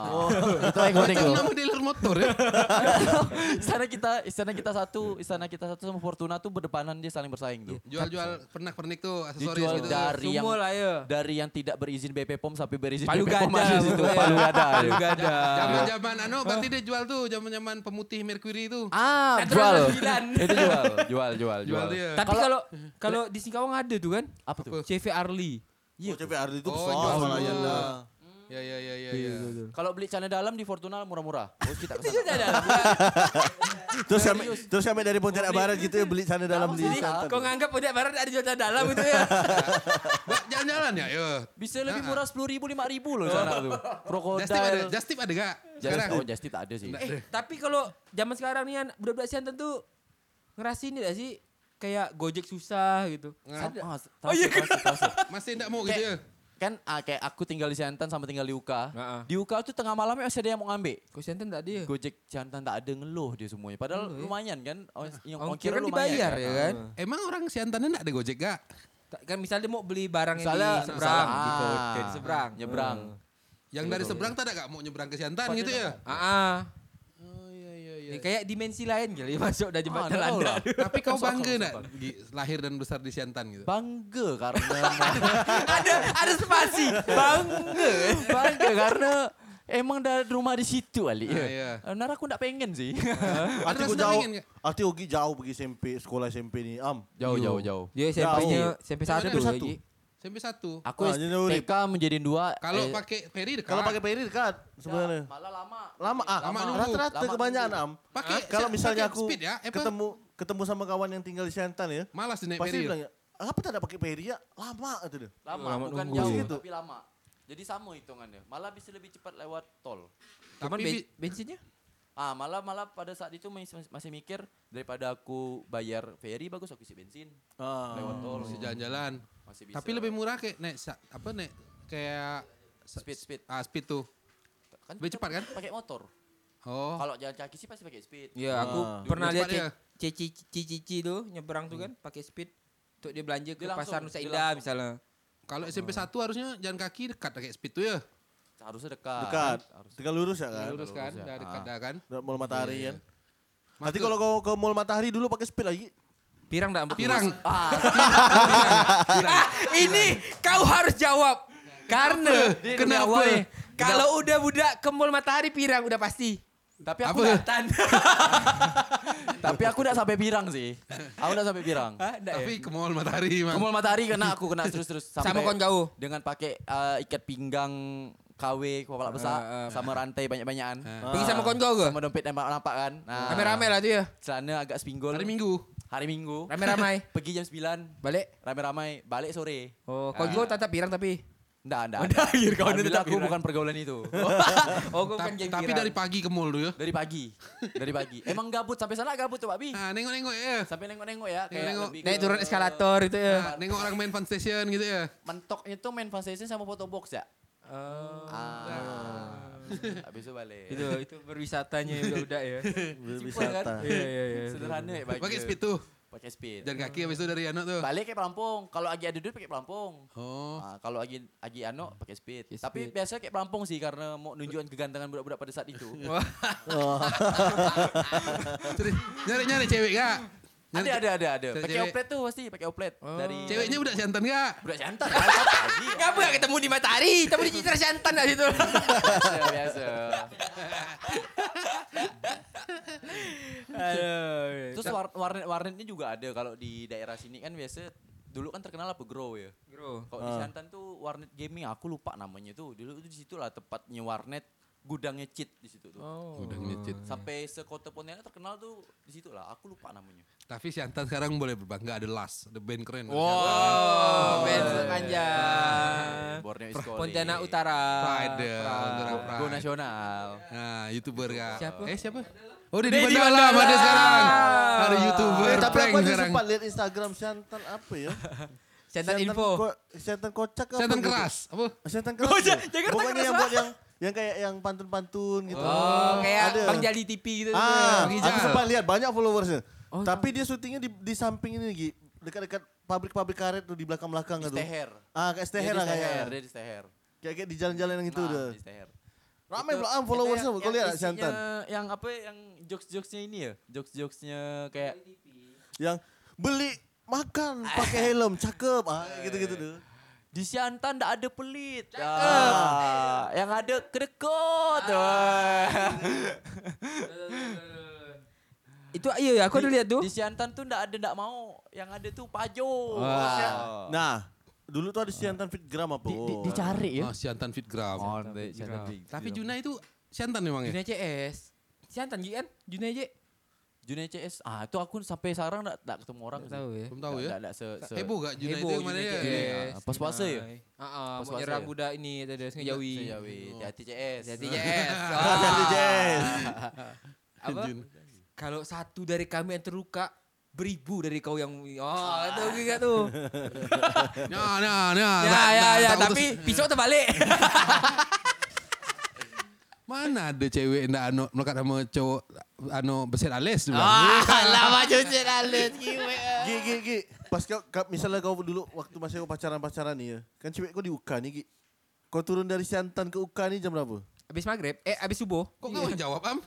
Oh.
Itu ikonik gitu.
Macam
tuh.
nama dealer motor ya.
<laughs> istana kita, istana kita satu, istana kita satu sama Fortuna tuh berdepanan dia saling bersaing tuh.
Jual-jual pernak-pernik tuh aksesoris
Dijual
gitu.
dari yang
Semua lah ya.
dari yang tidak berizin BP POM sampai berizin
Palu
BP POM
gada,
ada di situ.
pokoknya.
Palu gada. ya.
Palu gada.
Zaman-zaman anu berarti dia jual tuh zaman-zaman pemutih mercury itu.
Ah,
Kan
jual.
Natural sembilan.
<laughs> Itu jual, jual, jual,
Jual
jual.
dia.
Tapi kalau kalau di Singkawang ada tuh kan?
Apa tuh?
CV Arli.
Iya, CPR itu
Oh,
besar
jual semua.
malah ya lah.
Ya ya ya ya ya.
Kalau beli celana dalam di Fortuna murah-murah. Oh, kita kesana.
<laughs>
Terus kami terus kami dari Pontianak Barat gitu ya beli sana dalam di
Jadi,
Santan.
Kau nganggap udah barat ada jualan dalam gitu ya?
Ba- Jalan-jalan ya, yo.
Bisa
Nah.
lebih murah sepuluh ribu, lima ribu loh sana tuh.
Justip ada,
Krokodil.
Justip ada gak?
Sekarang.
Sekarang.
Oh, Justip tak ada sih.
eh, tapi kalau zaman sekarang nih anak- budak-budak siantan tuh ngerasin tidak sih kayak gojek susah gitu.
Sama,
Oh, iya,
transfer, transfer, transfer.
Masih enggak mau gitu ya.
Kan ah, kayak aku tinggal di Siantan sama tinggal di Uka.
Heeh.
Di Uka tuh tengah malamnya masih ada yang mau ngambil.
Kau siantan tak ada ya?
Gojek Siantan tak ada ngeluh dia semuanya. Padahal
Ngeluh, ya?
lumayan kan. Oh, yang
Ongkir
ongkirnya
kan
lumayan
dibayar ya kan?
Emang orang Siantan enggak ada Gojek gak?
Ta- Kan misalnya dia mau beli barang yang
Misalnya,
di seberang
misalnya,
gitu,
ah,
kayak di seberang.
Nyebrang.
Yang
Iya,
dari
ya.
seberang tak ada gak mau nyebrang ke Siantan gitu ya?
Ah, ah.
Oh iya iya
Ya, kayak dimensi lain kali <laughs> masuk dari jembatan
Ah, nggak tahu
Landa.
lah.
Tapi kau bangga enggak lahir dan besar di Siantan gitu?
Bangga karena
ada <laughs> ada spasi. Bangga.
bangga karena emang dari rumah di situ Ali. Eh,
Ah, iya.
Benar aku enggak pengen sih.
Hati
Ada
ku
rasa
jauh.
dingin nggak?
Hati Ogi jauh pergi SMP, sekolah SMP ni. Am.
jauh
Iya.
jauh jauh.
Dia SMP-nya SMP
Jauh.
Iya. satu
Sampai
satu.
lagi.
Sampai satu.
Aku
Ah, jadi urip.
TK menjadi dua.
Kalau
eh,
pakai ferry dekat.
Kalau pakai peri dekat sebenarnya.
malah lama.
Lama ah,
Lama dulu.
rata-rata
Lama
kebanyakan am.
Pakai
Ah, Kalau
pakai
misalnya aku
speed ya, apa?
ketemu ketemu sama kawan yang tinggal di Siantan ya,
Malas dia naik
pasti
ferry.
dia bilang, apa tak ada pakai peri ya? Lama itu dia.
Lama,
Lama
bukan
nunggu.
jauh
Gitu.
tapi lama. Jadi sama hitungannya. Malah bisa lebih cepat lewat tol.
Cuman
Tapi
ben-
bi-
bensinnya?
Ah, malah malah pada saat itu masih, masih mikir daripada aku bayar ferry bagus aku isi bensin
Ah.
lewat
"Oh,
tol
Oh, Masih jalan-jalan.
iya,
masih bisa.
Tapi lebih murah kayak naik sa- apa naik kayak sa-
Speed, speed.
Ah speed tuh.
kan
lebih
kita
cepat kan?
Pakai motor.
Oh. Iya.
Kalau jalan kaki sih pasti pakai speed.
Ya, aku
Ah.
pernah
Dulu
lihat
tempatnya.
Ce- cici cici cici tuh nyebrang tuh kan pakai speed untuk dia belanja ke
Dia langsung,
pasar Nusa
dia
Indah
langsung.
misalnya.
Kalau SMP 1 harusnya jalan kaki dekat kayak speed tuh ya.
Harusnya dekat.
Dekat.
Harus.
Tinggal lurus ya kan?
Lurus kan, dah dekat dah kan.
Dekat Mall Matahari
Iya,
kan. Nanti kalau kau ke Mall Matahari dulu pakai speed lagi.
Pirang enggak
Pirang.
<laughs>
Ah,
ini kau harus jawab. Karena
Dia udah
Kenapa?
jawab nih.
Kalau udah budak ke mall Matahari Pirang udah pasti.
tapi aku
Apa?
nggak-
<laughs>
tapi aku enggak sampai pirang sih. Aku enggak sampai pirang.
Hah, nggak
Tapi
ya?
eh. ke mall matahari
Ke
mang.
Mall Matahari kena aku kena terus-terus
Sama kawan kau?
Dengan pakai eh, ikat pinggang KW kepala besar
Ah, ah.
sama rantai banyak-banyakan.
Ah.
Ah.
Pergi Ah. sama kawan kau ke?
Sama dompet nampak-nampak kan. Nah,
Rame-rame lah tuh ya.
Celana agak spinggol.
Hari Minggu.
Hari Minggu.
Rame-ramai.
Pergi jam 9.
Balik.
Ramai-ramai balik sore.
Oh, kau juga tatap pirang tapi.
Enggak, enggak.
Oh, dah, akhir kawan
Alhamdulillah
tetap
aku
pirang.
bukan pergaulan itu.
<laughs>
<laughs>
Oh, kau
Ta-
bukan geng
tapi
pirang.
dari pagi ke mall tuh ya.
Dari pagi. Dari pagi. Emang gabut sampai sana gabut tuh, Pak Bi.
Ah, nengok-nengok ya.
Sampai nengok-nengok ya, kayak
Nengok-nengok.
lebih
naik
ke-
turun eskalator itu
Ah,
ya.
nengok orang main fun station gitu ya.
Mentoknya tuh main fun station sama photo box ya.
Oh.
Ah. Habis itu balik.
itu itu berwisatanya ya budak-budak <laughs> ya.
kan?
Berwisata.
Iya iya iya.
Sederhana ya bagi.
Pakai speed tuh.
Pakai speed.
Jalan kaki habis itu dari anak tuh.
Balik kayak pelampung. Kalau lagi ada duit pakai pelampung.
Oh.
Ah, kalau lagi lagi ano pakai speed.
Pakai
Tapi
speed.
biasanya kayak pelampung sih karena mau nunjukin kegantengan budak-budak pada saat itu.
Terus Nyari-nyari cewek gak?
ada ada ada ada.
Cewek-
Pakai
cewek.
oplet tuh pasti pakai oplet
Oh.
dari
Ceweknya udah jantan gak?
budak jantan.
<laughs>
Pagi
Kenapa gak ketemu di matahari? Ketemu di Citra Santan lah situ.
biasa biasa.
Aduh.
Terus war- warnet warnetnya juga ada kalau di daerah sini kan biasa dulu kan terkenal apa grow ya.
Bro.
Kalau di Santan tuh warnet gaming aku lupa namanya tuh. Dulu itu di situ lah tempatnya warnet gudangnya cheat di situ tuh.
Oh.
Udah ngecit.
Sampai sekota Pontianak terkenal tuh di situ lah. Aku lupa namanya.
Tapi Siantan sekarang boleh berbangga ada Las, the band keren.
Oh, bensin panjang.
Borneo is
Eh,
calling.
Pontianak Utara. Iya.
Pride, Pontianak
Go
Pride.
nasional.
Nah, youtuber gak?
Siapa?
Eh siapa? Oh, Deddy
Deddy
Bandalam ada
Bandalam.
sekarang. Ada youtuber
Eh, tapi
prank
aku aja
sekarang.
sempat lihat Instagram Siantan apa ya?
Santan info.
ko- Siantan kocak apa?
Siantan
gitu?
keras. Apa?
Siantan keras.
Oh,
ya?
Ja- Jakarta
Bukannya
keras
yang
lah.
buat yang yang kayak yang pantun-pantun gitu.
Oh, kayak
Ada.
Bang Jali TV gitu.
Ah,
Bang
aku
Rijal.
sempat lihat banyak followersnya. Tapi dia syutingnya di, di samping ini Gi. Dekat-dekat pabrik-pabrik karet tuh di belakang-belakang
Di
gitu.
Steher.
Ah, kayak Steher
Dia
lah
Iya, di Steher,
kayaknya.
Dia di Steher.
Kayak kayak di jalan-jalan yang itu
Nah,
udah.
di Steher.
Ramai
Itu-
pula ah,
itu
followersnya
yang-
kau
yang
lihat tak,
isinya-
Siantan.
Yang apa yang jokes-jokesnya ini ya? Jokes-jokesnya kayak
Yang beli makan
<laughs>
pakai helm cakep ah gitu-gitu tuh.
di Siantan tak ada pelit. Ah, yang ada kedekut.
Itu iya ya, aku udah lihat tuh.
Di Siantan tuh tak ada tak mau. Yang ada tuh pajo. Ah.
Wah. Ah. Nah, dulu tuh ada Siantan Fitgram apa?
Di- di-
Oh.
dicari
Iya.
ya.
Oh, Siantan Fitgram. Tapi
Iya.
Juna itu Siantan memang ya?
Dunia CS. Siantan Ji kan? Dunia J.
Juna CS. Ah, itu aku sampai sekarang tak tak ketemu orang.
Tak
sih.
tahu ya.
Belum tahu
Tak-
ya?
tak- tak se- se-
Heboh gak Juna
Heboh
itu mana
Juna
ya?
CS.
CS,
Pas puasa ya?
Dinai. Ah, ah,
Pas
mau
puasa
nyerah
ya?
budak ini tadi Sengajawi.
Jawi. Hati-hati CS.
Jadi CS.
Ada
Ah.
Jess.
Apa? <laughs> Kalau satu dari kami yang terluka, beribu dari kau yang oh
Ah.
itu enggak tuh
Nah, nah, nah.
ya
Ah, tak-
ya
tak-
ya
tak putus.
tapi pisau terbalik
Mana ada cewek yang tak anu melekat sama cowok anu beset alis tu bang.
ah lama cuci alis
Gi, gi, gi. Pas kau, kau- misalnya kau dulu waktu masih kau pacaran-pacaran nih ya. Kan cewek kau di UK nih, Gi. Kau turun dari Siantan ke UK nih jam berapa?
abis maghrib eh abis subuh
Kok kau yang jawab am?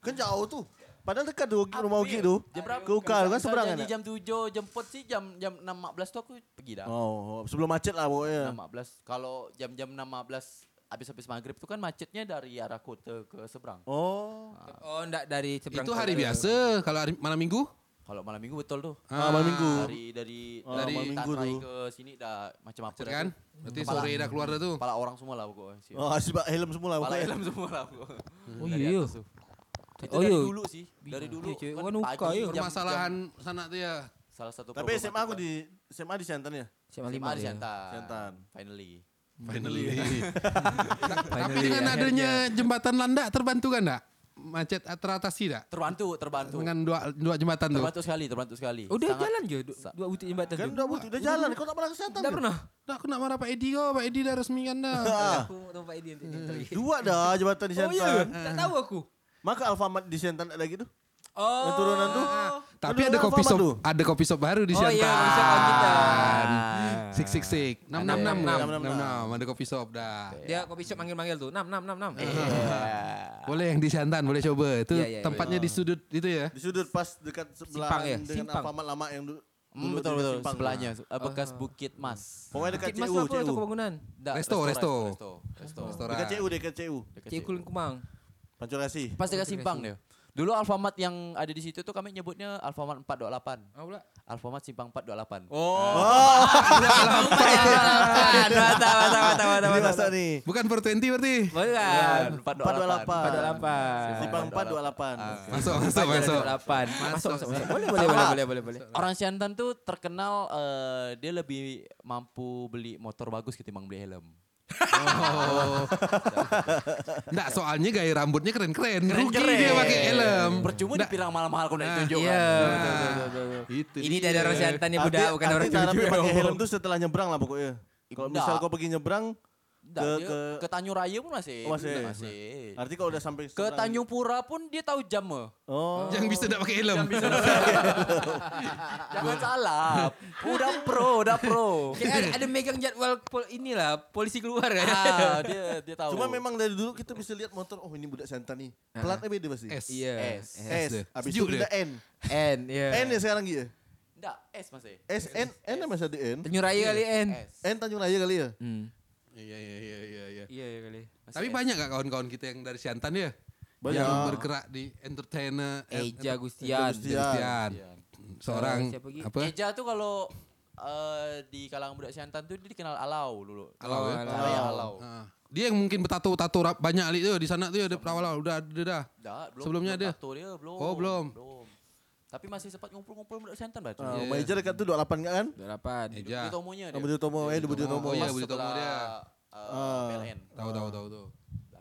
Kan jauh tuh. Padahal dekat tuh rumah Ogi tuh.
ya? Jam berapa?
Ke UK kan
Misalnya
seberangan.
ni
ya?
jam 7 jemput sih jam jam 6.15 tuh aku pergi dah.
Oh, sebelum macet lah pokoknya.
6.15. Kalau jam-jam 6.15 habis-habis maghrib tuh kan macetnya dari arah kota ke seberang.
Oh.
Ah,
oh enggak dari seberang
Itu hari
kota.
biasa. Kalau hari malam minggu?
Kalau malam minggu betul tuh.
Ah, malam minggu.
Dari dari
Ah,
dari
malam minggu
Tanrai
tu.
ke sini dah macam apa
Macet
dah
kan?
tu.
Berarti sore dah keluar dah tu.
Kepala orang semua lah pokoknya. Siap.
Oh, <laughs> sebab helm semula
Kepala
bukan?
helm semua lah pokoknya.
Oh,
Dari
iya.
atas tu. Itu
Oh,
dari
iya.
dulu sih. Dari
Iya,
dulu. Kan
cuy. Wan uka,
pagi
iya.
jam-
Permasalahan
jam-
sana tu ya.
Salah satu
Tapi SMA aku di SMA di Siantan ya?
Siapa
SMA
lima
di
dia?
Siantan.
Siantan.
Finally.
Finally. Tapi
Finally,
dengan
akhirnya.
adanya jembatan landak terbantukan tak? Macet teratasi tak?
Terbantu, terbantu.
Dengan dua dua jembatan tu.
Terbantu sekali, terbantu sekali.
udah
Sangat-
Oh, jalan je du- dua butik jembatan
Kan
tu.
udah butuh, udah jalan. Kau tak pernah ke Siantan?
enggak
tu?
pernah
Dah aku nak marah Pak Edi kau. Pak Edi dah resmikan dah.
Ah,
Iya, aku ketemu Pak Edi nanti di interview.
Dua Hmm. dah jembatan di
oh iya
Siantan.
tak tahu aku
Maka Alfamart di Siantan ada gitu? lagi tuh.
oh
Yang turunan tu.
Tapi
Aduh,
ada
apa
kopi
apa
shop,
tu?
ada kopi shop baru di
Oh,
Siantan.
iya, kopi shop Alkitab.
Sik sik sik. Enam enam enam enam enam enam. Ada kopi shop dah.
dia kopi shop manggil-manggil tuh enam enam enam enam
Eh.
Iya. ya.
Boleh yang di Siantan, boleh coba. Itu
Iya, iya,
tempatnya di sudut itu ya.
Di sudut pas dekat sebelah
Simpang ya?
dengan
Simpang.
Alfamart lama yang dulu.
Hmm,
dulu
betul
di
betul
Simpang.
sebelahnya eh, bekas Bukit Mas.
Pokoknya dekat
Bukit Mas
CU,
tu apa
CU.
tu kebangunan
Ndak,
Resto, resto.
resto, resto.
Restoran.
Dekat CU, dekat CU.
Dekat
Cik Kulin Kumang
Pancur kasih.
Pas dekat simpang dia. Dulu Alfamart yang ada di situ tuh kami nyebutnya Alfamart 428.
Ah pula
Alfamart simpang 428.
Oh, <laughs>
Mantap, mantap, mantap, mantap,
Ini
mantap.
masa nih.
Bukan for 20 berarti.
Iya.
Eh,
Bukan.
428.
428.
Simpang 428.
Ah.
Masuk, masuk, masuk.
428. Masuk, masuk, masuk. Boleh, boleh, boleh, boleh, boleh, boleh.
Orang Siantan tuh terkenal eh, dia lebih mampu beli motor bagus ketimbang beli helm.
Oh. Enggak, soalnya gaya rambutnya keren-keren. Rugi dia pakai helm.
Percuma dipirang mahal-mahal kalau nak
Nah,
ditunjuk.
Iya.
nah.
Itu.
Ini
dia.
dari orang Siantan ya,
Arti-
budak, bukan orang
arti cara
Ciantan.
dia pakai
<laughs>
helm tuh setelah nyebrang lah pokoknya. Kalau
Enggak.
misal kau pergi nyebrang,
Nggak,
Ke-
dia
ke-
ke Tanjung Raya pun masih.
Oh, masih.
masih.
arti kau udah sampai
Ke
seberang.
Tanjung Pura pun dia tahu jam. eh.
Oh.
Yang bisa enggak pakai helm.
Jangan salah. <laughs> Udah pro, udah
<laughs>
pro.
Kayak ada, ada megang jadwal pol inilah polisi keluar ya.
ah, dia dia tahu.
Cuma memang dari dulu kita bisa lihat motor, oh ini budak Siantan nih. Pelatnya beda pasti.
S.
<laughs> Iya.
S.
S.
dia.
Habis itu
Sejuk
pindah
dia.
N.
N, iya.
N ya sekarang gitu.
Enggak, S masih.
S N N masih ada N.
Tanjung Raya kali N.
S.
Eh,
N Tanjung Raya kali ya?
Iya, iya, iya, iya, iya.
Iya iya kali.
Masih
Tapi
S.
banyak gak kawan-kawan kita yang dari Siantan ya?
Banyak.
Yang bergerak di entertainer.
Eh, Eja
Eja
Gustian.
Gustian.
Christian. Seorang
Siapa lagi?
apa?
Eja tuh kalau eh, di kalangan budak Siantan tuh dia dikenal alau dulu.
Alau ya?
Cahaya alau.
Ah. Dia yang mungkin bertato-tato rap- banyak ali tuh di sana ya, tuh ada perawal udah ada dah.
Enggak, belum.
Sebelumnya
belum
ada?
tato dia, belum.
Oh, belum.
Tapi masih sempat ngumpul-ngumpul budak Siantan berarti.
Ah,
Iya.
Rumah Ijar dekat tuh 28 kan?
Iya. Delapan.
Di
Eja.
Tomonya dia.
Budi Utomo, eh di Budi
Utomo.
Utomo.
Oh, iya,
Pas
Budi Utomo
setelah,
dia.
eh,
Ah.
PLN.
Tahu tahu tahu tuh.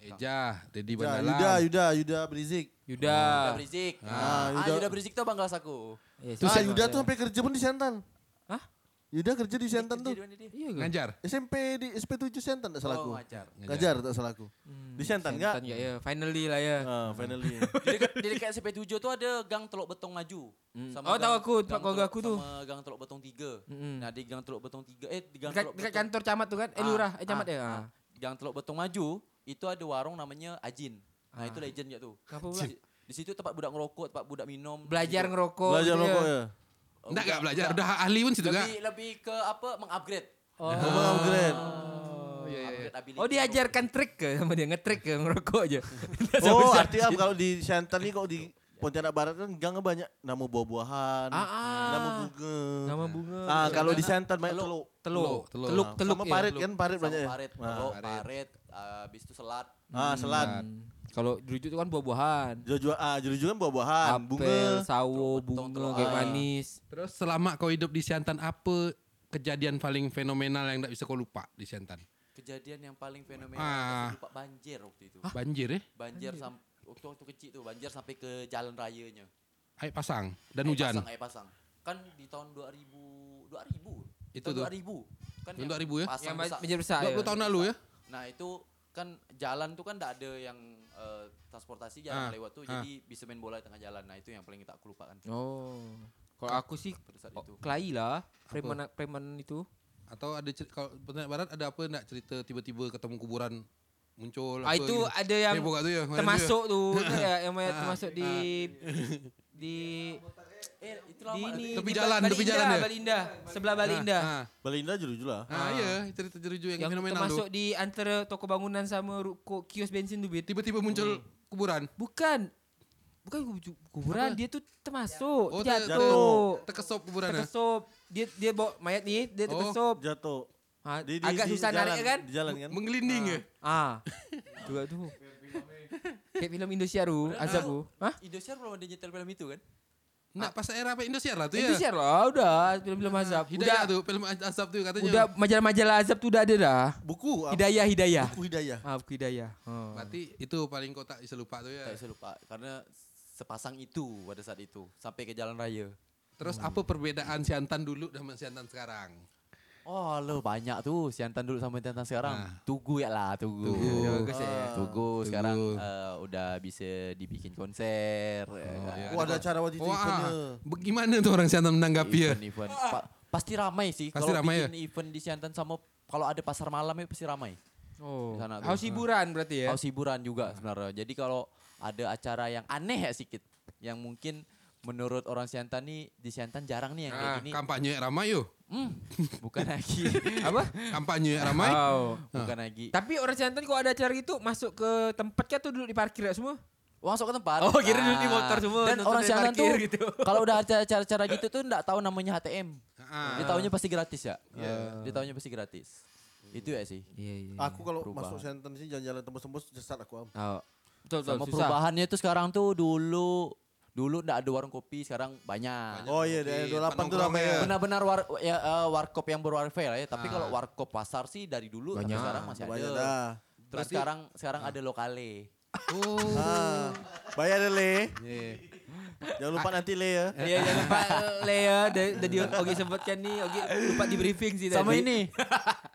Eja, Dedi
Ya,
Bandalam.
Yuda, Yuda, Yuda Berizik.
Yuda.
Yuda Brizik. Ah,
Yuda-
Yuda Brizik tuh abang kelas aku.
Yes. Iya,
Ah, Yuda tuh sampai kerja pun di Siantan.
Hah?
Yuda kerja di
Dia
Siantan
kerja
tuh.
di mana dia?
Iya kan?
Ngajar.
SMP di SP 7 Siantan tak salah
Oh,
aku.
ngajar.
Ngajar tak salah aku. Di Siantan enggak?
ya, ya. Finally lah ya.
Ah, finally.
Di dekat, di dekat SP7 tuh ada gang Teluk Betong Maju.
Oh, tahu
gang-
aku, tempat
gang
keluarga
Teluk-
aku tuh.
Sama gang Teluk Betong 3.
Mm-mm.
Nah, di gang Teluk Betong 3 eh di gang
Dekat,
Teluk
dekat
Betong-
kantor camat tuh kan? Eh, lurah, eh, camat
ah,
ya.
ah. Gang Teluk Betong Maju itu ada warung namanya Ajin.
Ah.
Nah, itu legend juga tuh.
Apa pula?
Di- Di situ tempat budak ngerokok, tempat budak minum.
Belajar
Gitu.
ngerokok.
Belajar
gitu ya.
rokok ya.
Oh,
Enggak enggak belajar.
enggak.
Udah ahli pun situ enggak?
Lebih lebih ke apa? Mengupgrade.
Ah.
Kau mau upgrade.
Oh,
iya, iya.
Oh, diajarkan trik ke sama dia ngetrik ke ngerokok aja. <laughs>
Oh, artinya kalau di Siantan nih kalau di Pontianak Barat kan gangnya banyak nama buah-buahan,
Ah, ah.
nama bunga.
Nama bunga. Iya.
Ah, kalau di Siantan banyak teluk.
teluk,
Teluk, teluk.
teluk,
Ah,
teluk
sama
ya.
parit kan, parit
Sama
banyak. ya?
paret,
Ah.
Teluk, paret, ah, habis itu selat.
Ah, selat.
Hmm. Kalau dirujuk itu kan buah-buahan.
Jojo ah, Jojo kan buah-buahan,
Apel,
bunga.
sawo,
Telur,
bunga,
telur.
kayak
Ah.
manis.
Terus selama kau hidup di Siantan apa kejadian paling fenomenal yang enggak bisa kau lupa di Siantan?
Kejadian yang paling fenomenal
Ah.
aku lupa banjir waktu itu.
Banjir eh?
Banjir sam- waktu waktu kecil tuh banjir sampai ke jalan rayanya.
Air pasang dan
Air
hujan.
Eh, Pasang, air pasang. Kan di tahun 2000 2000.
Itu
Tahun
tuh.
2000. Kan
Tahun
yang
2000 ya?
Pasang
Yang ma-
besar.
menjadi besar. ya.
20 tahun lalu ya?
Nah, itu kan jalan tuh kan enggak ada yang eh, transportasi
Ah,
jarang lewat tuh
ah.
jadi bisa main bola di tengah jalan. Nah, itu yang paling tak aku lupakan
Oh. Kalau aku sih
pada saat
oh,
itu.
Kelai lah, preman preman itu.
Atau ada cerita, kalau Pontianak Barat ada apa enggak cerita tiba-tiba ketemu kuburan muncul
Ah
apa
itu
gitu?
ada yang
Eh, bukan tuh ya, mana
termasuk tuh, itu ya, yang banyak termasuk di di
Eh, itu
di
lama.
ini
Tepi
di Ba-
jalan,
Bali
tepi
Indah,
jalan ya?
Bali Indah, sebelah Bali
Ah,
Indah.
ah.
Belinda Jojo lah.
Ah, iya, cerita jeruju yang,
Yang
fenomenal
termasuk
tuh.
di antara toko bangunan sama ruko kios bensin tuh, Bit.
Tiba-tiba muncul kuburan.
Bukan. Bukan kubu- kuburan, dia tuh termasuk
Oh, ter- ter-
jatuh.
Terkesop kuburan. ya?
Terkesup. Dia dia bawa mayat nih,
Oh.
dia terkesup.
Jatuh.
Ah,
Di- di-
agak
di
susah
jalan,
nariknya kan?
Di jalan kan.
Menggelinding ya?
Ah. Dua tuh. Kayak film Indosiar tu, azab tu. Hah?
Indosiar belum ada nyetel film itu kan?
Nak pasal era apa Indosiar lah tuh ya? Ah,
Indosiar lah, Ah, udah film-film azab.
Hidayah
Udah
tuh film Azab tuh katanya.
udah majalah-majalah azab tuh udah ada dah.
Buku. apa?
Hidayah, hidayah.
Buku Hidayah.
Ah, buku hidayah. Ah.
Berarti itu paling kau tak bisa lupa tuh ya.
Tak bisa Eh, lupa karena sepasang itu pada saat itu sampai ke jalan raya.
Terus apa perbedaan Siantan dulu sama Siantan sekarang?
Oh, lo banyak tuh Siantan dulu sama Siantan sekarang.
Ah.
Tugu ya lah, Tugu.
Tugu. Ya,
Tugu,
Ah.
sekarang eh, udah bisa dibikin konser. ya kan?
iya.
Oh, ada acara waktu itu
Wah,
eventnya.
bagaimana tuh orang Siantan menanggapi ya?
iya.
event, event. Pa- pasti ramai sih
Pasti
kalau
ramai ya?
bikin event di Siantan sama kalau ada pasar malam ya pasti ramai.
Oh.
Di sana tuh.
Haus hiburan berarti ya.
Haus hiburan juga sebenarnya. Jadi kalau ada acara yang aneh ya sedikit yang mungkin menurut orang Siantan nih di Siantan jarang nih yang kayak
Ah,
gini.
kampanye ramai yo.
Hmm,
<laughs>
bukan lagi.
Apa?
Kampanye
<laughs>
ramai.
Oh.
Ah. bukan lagi.
Tapi orang Siantan kalau ada acara gitu masuk ke tempat kah tuh duduk di parkir ya semua?
Wah, Masuk ke tempat. Ah.
Oh, kira duduk di motor semua,
Dan
nonton
orang
dari
Siantan tuh
parkir gitu.
kalau udah acara-acara gitu tuh enggak tahu namanya HTM.
Ah.
Dia tahunya pasti gratis ya. Dia tahunya pasti gratis. Itu ya sih.
Iya, iya.
Aku kalau
Perubahan.
masuk Siantan sih jalan-jalan tembus-tembus sesat aku. am.
Oh. Betul, betul,
Sama
susah.
perubahannya tuh sekarang tuh dulu dulu enggak ada warung kopi, sekarang banyak.
Oh iya, dari 28 tuh ramai ya.
Benar-benar war, ya, eh, warkop yang berwarfel ya, tapi
Ah.
kalau warkop pasar sih dari dulu sampai
Banyak.
sekarang masih
Banyak
ada.
dah.
Terus sekarang sekarang ada lokale.
Oh.
Ah, bayar deh, le.
Yeah.
Jangan lupa nanti le ya.
Iya, jangan lupa Lea dari dari Ogi sebutkan nih, Ogi lupa di briefing sih
Sama
tadi.
ini. <laughs>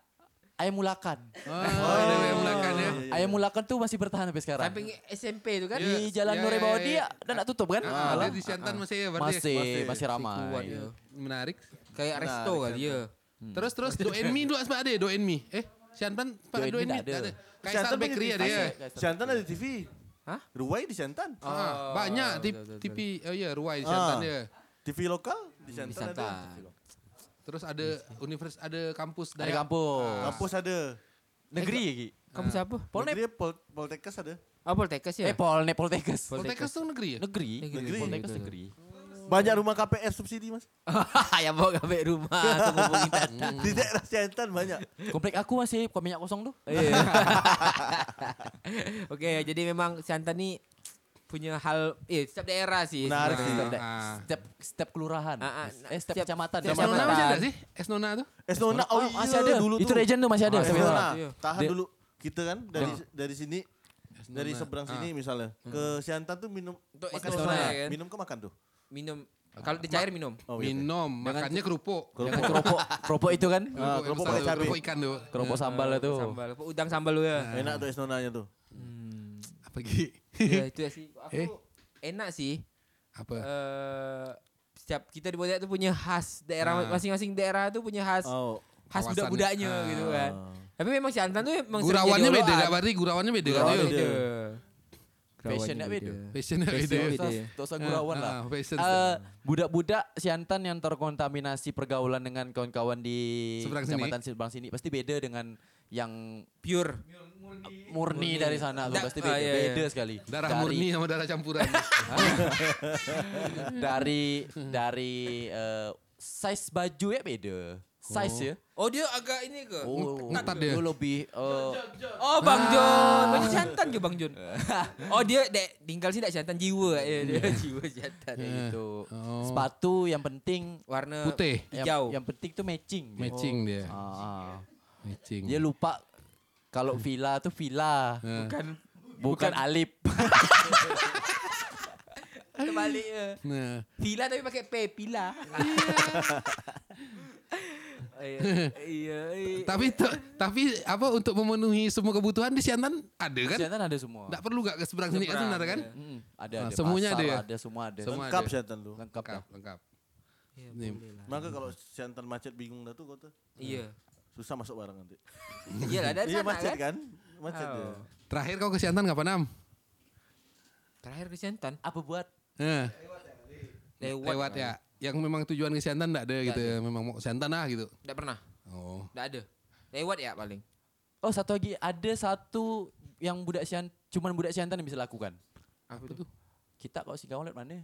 Ayam Mulakan.
Oh, ada yang belakang ya.
Ayam Mulakan tuh masih bertahan sampai sekarang.
Samping SMP itu kan.
di Jalan
ya,
Nure
ya,
Bawadi
ya.
ya, dan nggak tutup kan?
Ah, dia
Malam.
di Siantan masih ya berarti. ya?
masih, masih, ramai.
Kuat dia.
Menarik.
Kayak resto kali ya.
Terus terus doen mie dulu asma ada ya, doen mie. Eh, Siantan Pak
Doen
doen
mie
mie
tak ada.
tak ada. Kaisar Bakery ada ya.
Siantan ada TV.
Hah?
Ruwai di Siantan.
Ah, banyak tip- TV oh iya ruai di
Ah.
Siantan ya.
TV lokal di Siantan ada.
Santai.
Terus ada univers ada kampus Ah.
Dari kampung.
Kampus ada.
eh,
Negeri ya, lagi.
Kamu siapa?
Polnek.
Negeri Pol Poltekkes ada.
Ah, Poltekkes ya?
Eh, Polnek, Poltekkes.
Poltekkes tuh negeri ya?
Negeri.
Negeri.
Poltekkes negeri.
Banyak rumah KPR subsidi mas.
<laughs> ya bawa ke <laughs> rumah aku hubungi tadi.
Di daerah Siantan banyak.
Komplek aku masih kok minyak kosong tuh.
Ah,
Eh,
Iya. <laughs> Oke, jadi memang Siantan nih punya hal eh setiap daerah sih.
Menarik
sebenarnya.
sih.
Setiap,
Ah.
setiap, setiap kelurahan.
Ah, ah,
eh, setiap
setiap-
kecamatan.
setiap
Esnona
Kecamatan.
masih ada sih? Esnona tuh?
Esnona,
Oh,
oh,
masih
iya,
ada.
dulu
Itu
tuh.
legend tuh masih ada.
Masih
Esnona.
Esnona,
Iya.
tahan
Dia-
dulu. Kita kan dari dari sini dari seberang sini misalnya ke Siantan tuh minum
Untuk
makan
Esnona,
Esnona.
ya kan?
Minum ke makan tuh.
Minum Kalau dicair minum.
Oh, iya.
Minum, makannya kerupuk.
Yang keropok, keropok itu kan?
Ah,
yang besar
keropok pakai
tu,
cabai.
Keropok ikan tuh.
Keropok Oh, sambal itu.
Ah, Eh, Sambal, apa, udang sambal lu ya.
Enak tuh es nonanya tuh.
Ah, Apa Gi?
<laughs> ya itu ya sih.
Eh.
Aku enak sih.
Apa?
Eh, setiap kita di Bodak tuh punya khas daerah
Ah.
masing-masing daerah tuh punya khas
Oh.
khas
Kawasan.
budak-budaknya gitu kan. Tapi memang Siantan tuh memang sering
Gurawannya
jadi
beda
olahan.
gak Bari? Gurawannya beda gak
Gurawannya
tuh?
beda.
Fashionnya beda.
Fashionnya beda.
Fashionnya beda.
Dosa- Dosa gurauan lah.
Ah, Fashion.
Eh, budak-budak Siantan yang terkontaminasi pergaulan dengan kawan-kawan di
Seberang sini.
Kecamatan Seberang sini pasti beda dengan yang
Pure.
murni dari sana tuh
Da-
pasti beda,
ah, iya, iya.
beda sekali.
Darah
dari,
murni sama darah campuran.
<laughs> dari dari eh, size baju ya beda. Size ya.
Oh dia agak ini ke?
Oh,
ketat dia.
lu lebih eh,
Oh Bang Jon, Bang Jon Siantan ke Bang Jon? oh dia dek tinggal sini dak Siantan jiwa ya dia jiwa Siantan.
kayak gitu.
Oh.
Sepatu yang penting
Warna
Putih.
yang-
hijau.
Yang, penting tuh matching.
Matching dia.
Ah, ah.
Matching.
Dia lupa kalau villa tuh villa,
Ah.
Bukan
bukan alip. <laughs>
terbalik ya.
Nah,
Pila tapi pakai P, <laughs> pila. Iya. Eh, Iya. iya.
tapi tu- tapi apa untuk memenuhi semua kebutuhan di Siantan ada kan?
Siantan ada semua.
Tidak perlu gak ke seberang sini kan
Seberang,
sebenarnya kan?
iya.
Mm, ada,
Ah,
ada
semuanya
pasar,
ada ya?
ada semua ada.
Semua
Lengkap
ada.
siantan tuh.
Lengkap.
Lengkap,
dah.
lengkap.
Iya,
Ini.
boleh lah.
Maka kalau siantan macet bingung dah tuh kau tuh.
Iya.
Susah masuk barang nanti.
Iya lah dari
Iya
sana
macet
kan.
kan? Macet
Oh.
dia.
Terakhir kau ke Siantan kapan Am?
Terakhir ke Siantan
Apa buat?
Eh,
lewat.
lewat ya. Yang memang tujuan ke Siantan tidak ada gitu. Memang mau ke Siantan lah gitu.
Enggak pernah.
Oh.
Enggak ada. Lewat ya paling.
Oh satu lagi ada satu yang budak sian, cuman budak siantan yang bisa lakukan.
Apa tuh?
Kita kalau si kawan lihat mana?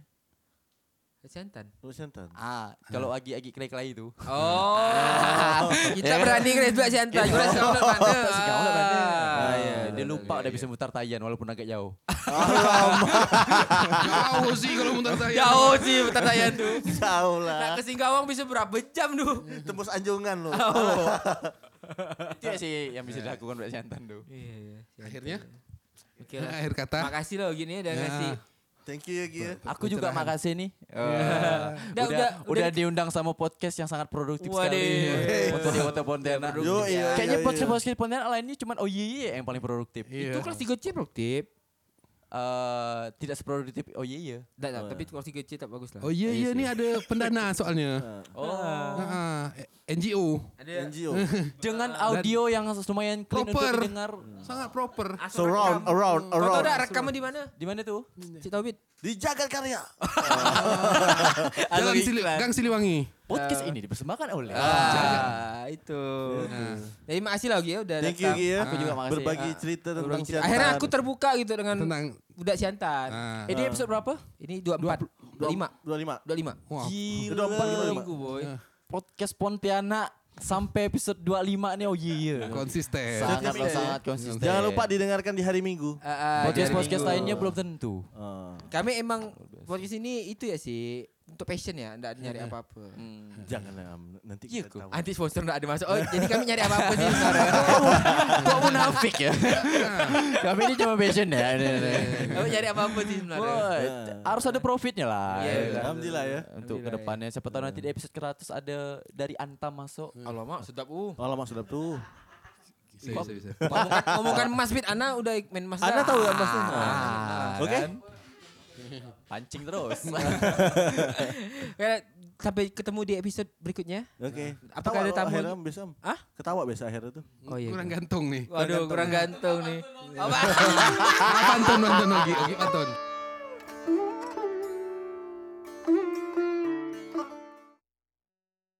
Ke Siantan.
Lu siantan.
Ah, kalau agi-agi kelai-kelai itu.
<laughs>
Oh.
<laughs>
Kita berani ke dua Siantan. Kita sekarang udah mana?
Si kawan lihat mana?
Ah, iya.
Iya. dia lupa udah bisa mutar tayan walaupun agak jauh.
<laughs> Jauh sih kalau mutar saya.
Jauh sih Ya pertanyaan tuh.
Jauh
Nak
lah.
ke Singkawang bisa berapa jam <laughs> tuh?
Tembus anjungan lu.
Oh.
Itu ya sih yang bisa dilakukan budak siantan tuh.
Iya, iya. Siantan.
Akhirnya?
Oke ya. lah.
Nah, Akhir kata.
Makasih loh gini udah
Ya.
ngasih.
Thank you ya Gi ya.
Aku juga makasih nih. Eh,
Dah,
udah, udah,
udah- udah-
diundang sama podcast yang sangat produktif
Waduh.
sekali. Untuk di Kota Pontianak.
Yo iya. iya,
Kayaknya
iya.
podcast podcast Pontianak lainnya cuma oh iya iya yang paling produktif.
Iya.
Itu kelas 3C bro, Tip.
Eh, tidak seproduktif oh iya iya.
Enggak, enggak, tapi kelas 3C tak bagus lah.
Oh iya iya nih ada pendana soalnya.
Oh.
Ah, NGO.
Ada
NGO.
Dengan audio yang lumayan
Proper.
clean untuk didengar.
Sangat proper.
Ah,
So round, around,
Kau tahu
around.
dah rekamnya di mana?
Di mana tuh?
Cik Taubit.
Di Jagat Karya.
Jalan Sili Gang Siliwangi.
Podcast ini dipersembahkan oleh.
Ah, itu.
Nah.
Jadi makasih lah Gi ya udah
Thank you
datang.
Gi ya.
Aku juga makasih.
Berbagi
Ah,
cerita tentang
Berbagi cerita.
siantan.
Akhirnya aku terbuka gitu dengan
Tenang.
budak Siantan.
Ah.
Ini episode berapa?
Ini 24, 25,
25.
25.
Wah.
Gila.
Minggu boy.
Ah. eh,
Podcast Pontianak sampai episode 25 nih oh iya iya.
Konsisten.
Sangat
Konsisten.
sangat konsisten.
Jangan lupa didengarkan di hari Minggu.
Iya.
Ah, ah,
podcast podcast
minggu.
lainnya belum tentu.
Ah,
Kami emang podcast ini itu ya sih untuk passion ya, enggak nyari apa-apa.
Hmm. Janganlah Am. nanti kita
Iya, kok.
tahu.
Anti sponsor enggak ada masuk. Oh, jadi kami nyari apa-apa sih sekarang. Oh,
Kok munafik ya? <laughs> Kami ini cuma passion ya. Ini, ini.
Kami nyari apa-apa sih sebenarnya.
Wah, harus ada profitnya lah.
ya. Iya, iya.
Alhamdulillah ya.
Untuk kedepannya, siapa tahu nanti di episode 100 ada dari Antam masuk.
Alamak, sedap uh.
Alamak sudah tuh.
Bisa, bisa, bisa.
Ngomongkan, ngomongkan Mas Fit, Ah, kan? Ana udah main Mas. dah.
Anda tahu kan pasti. Oke.
Pancing terus.
Ya, Sampai ketemu di episode berikutnya.
Oke.
Apakah ada
Nah, Ketawa
tamu?
Akhirnya Am, biasa. Am.
Hah?
Ketawa biasa akhirnya tuh.
Oh iya.
Kurang <laughs> gantung nih.
Waduh, kurang gantung nih. Apa?
Ah, pantun, pantun lagi. Oke, pantun.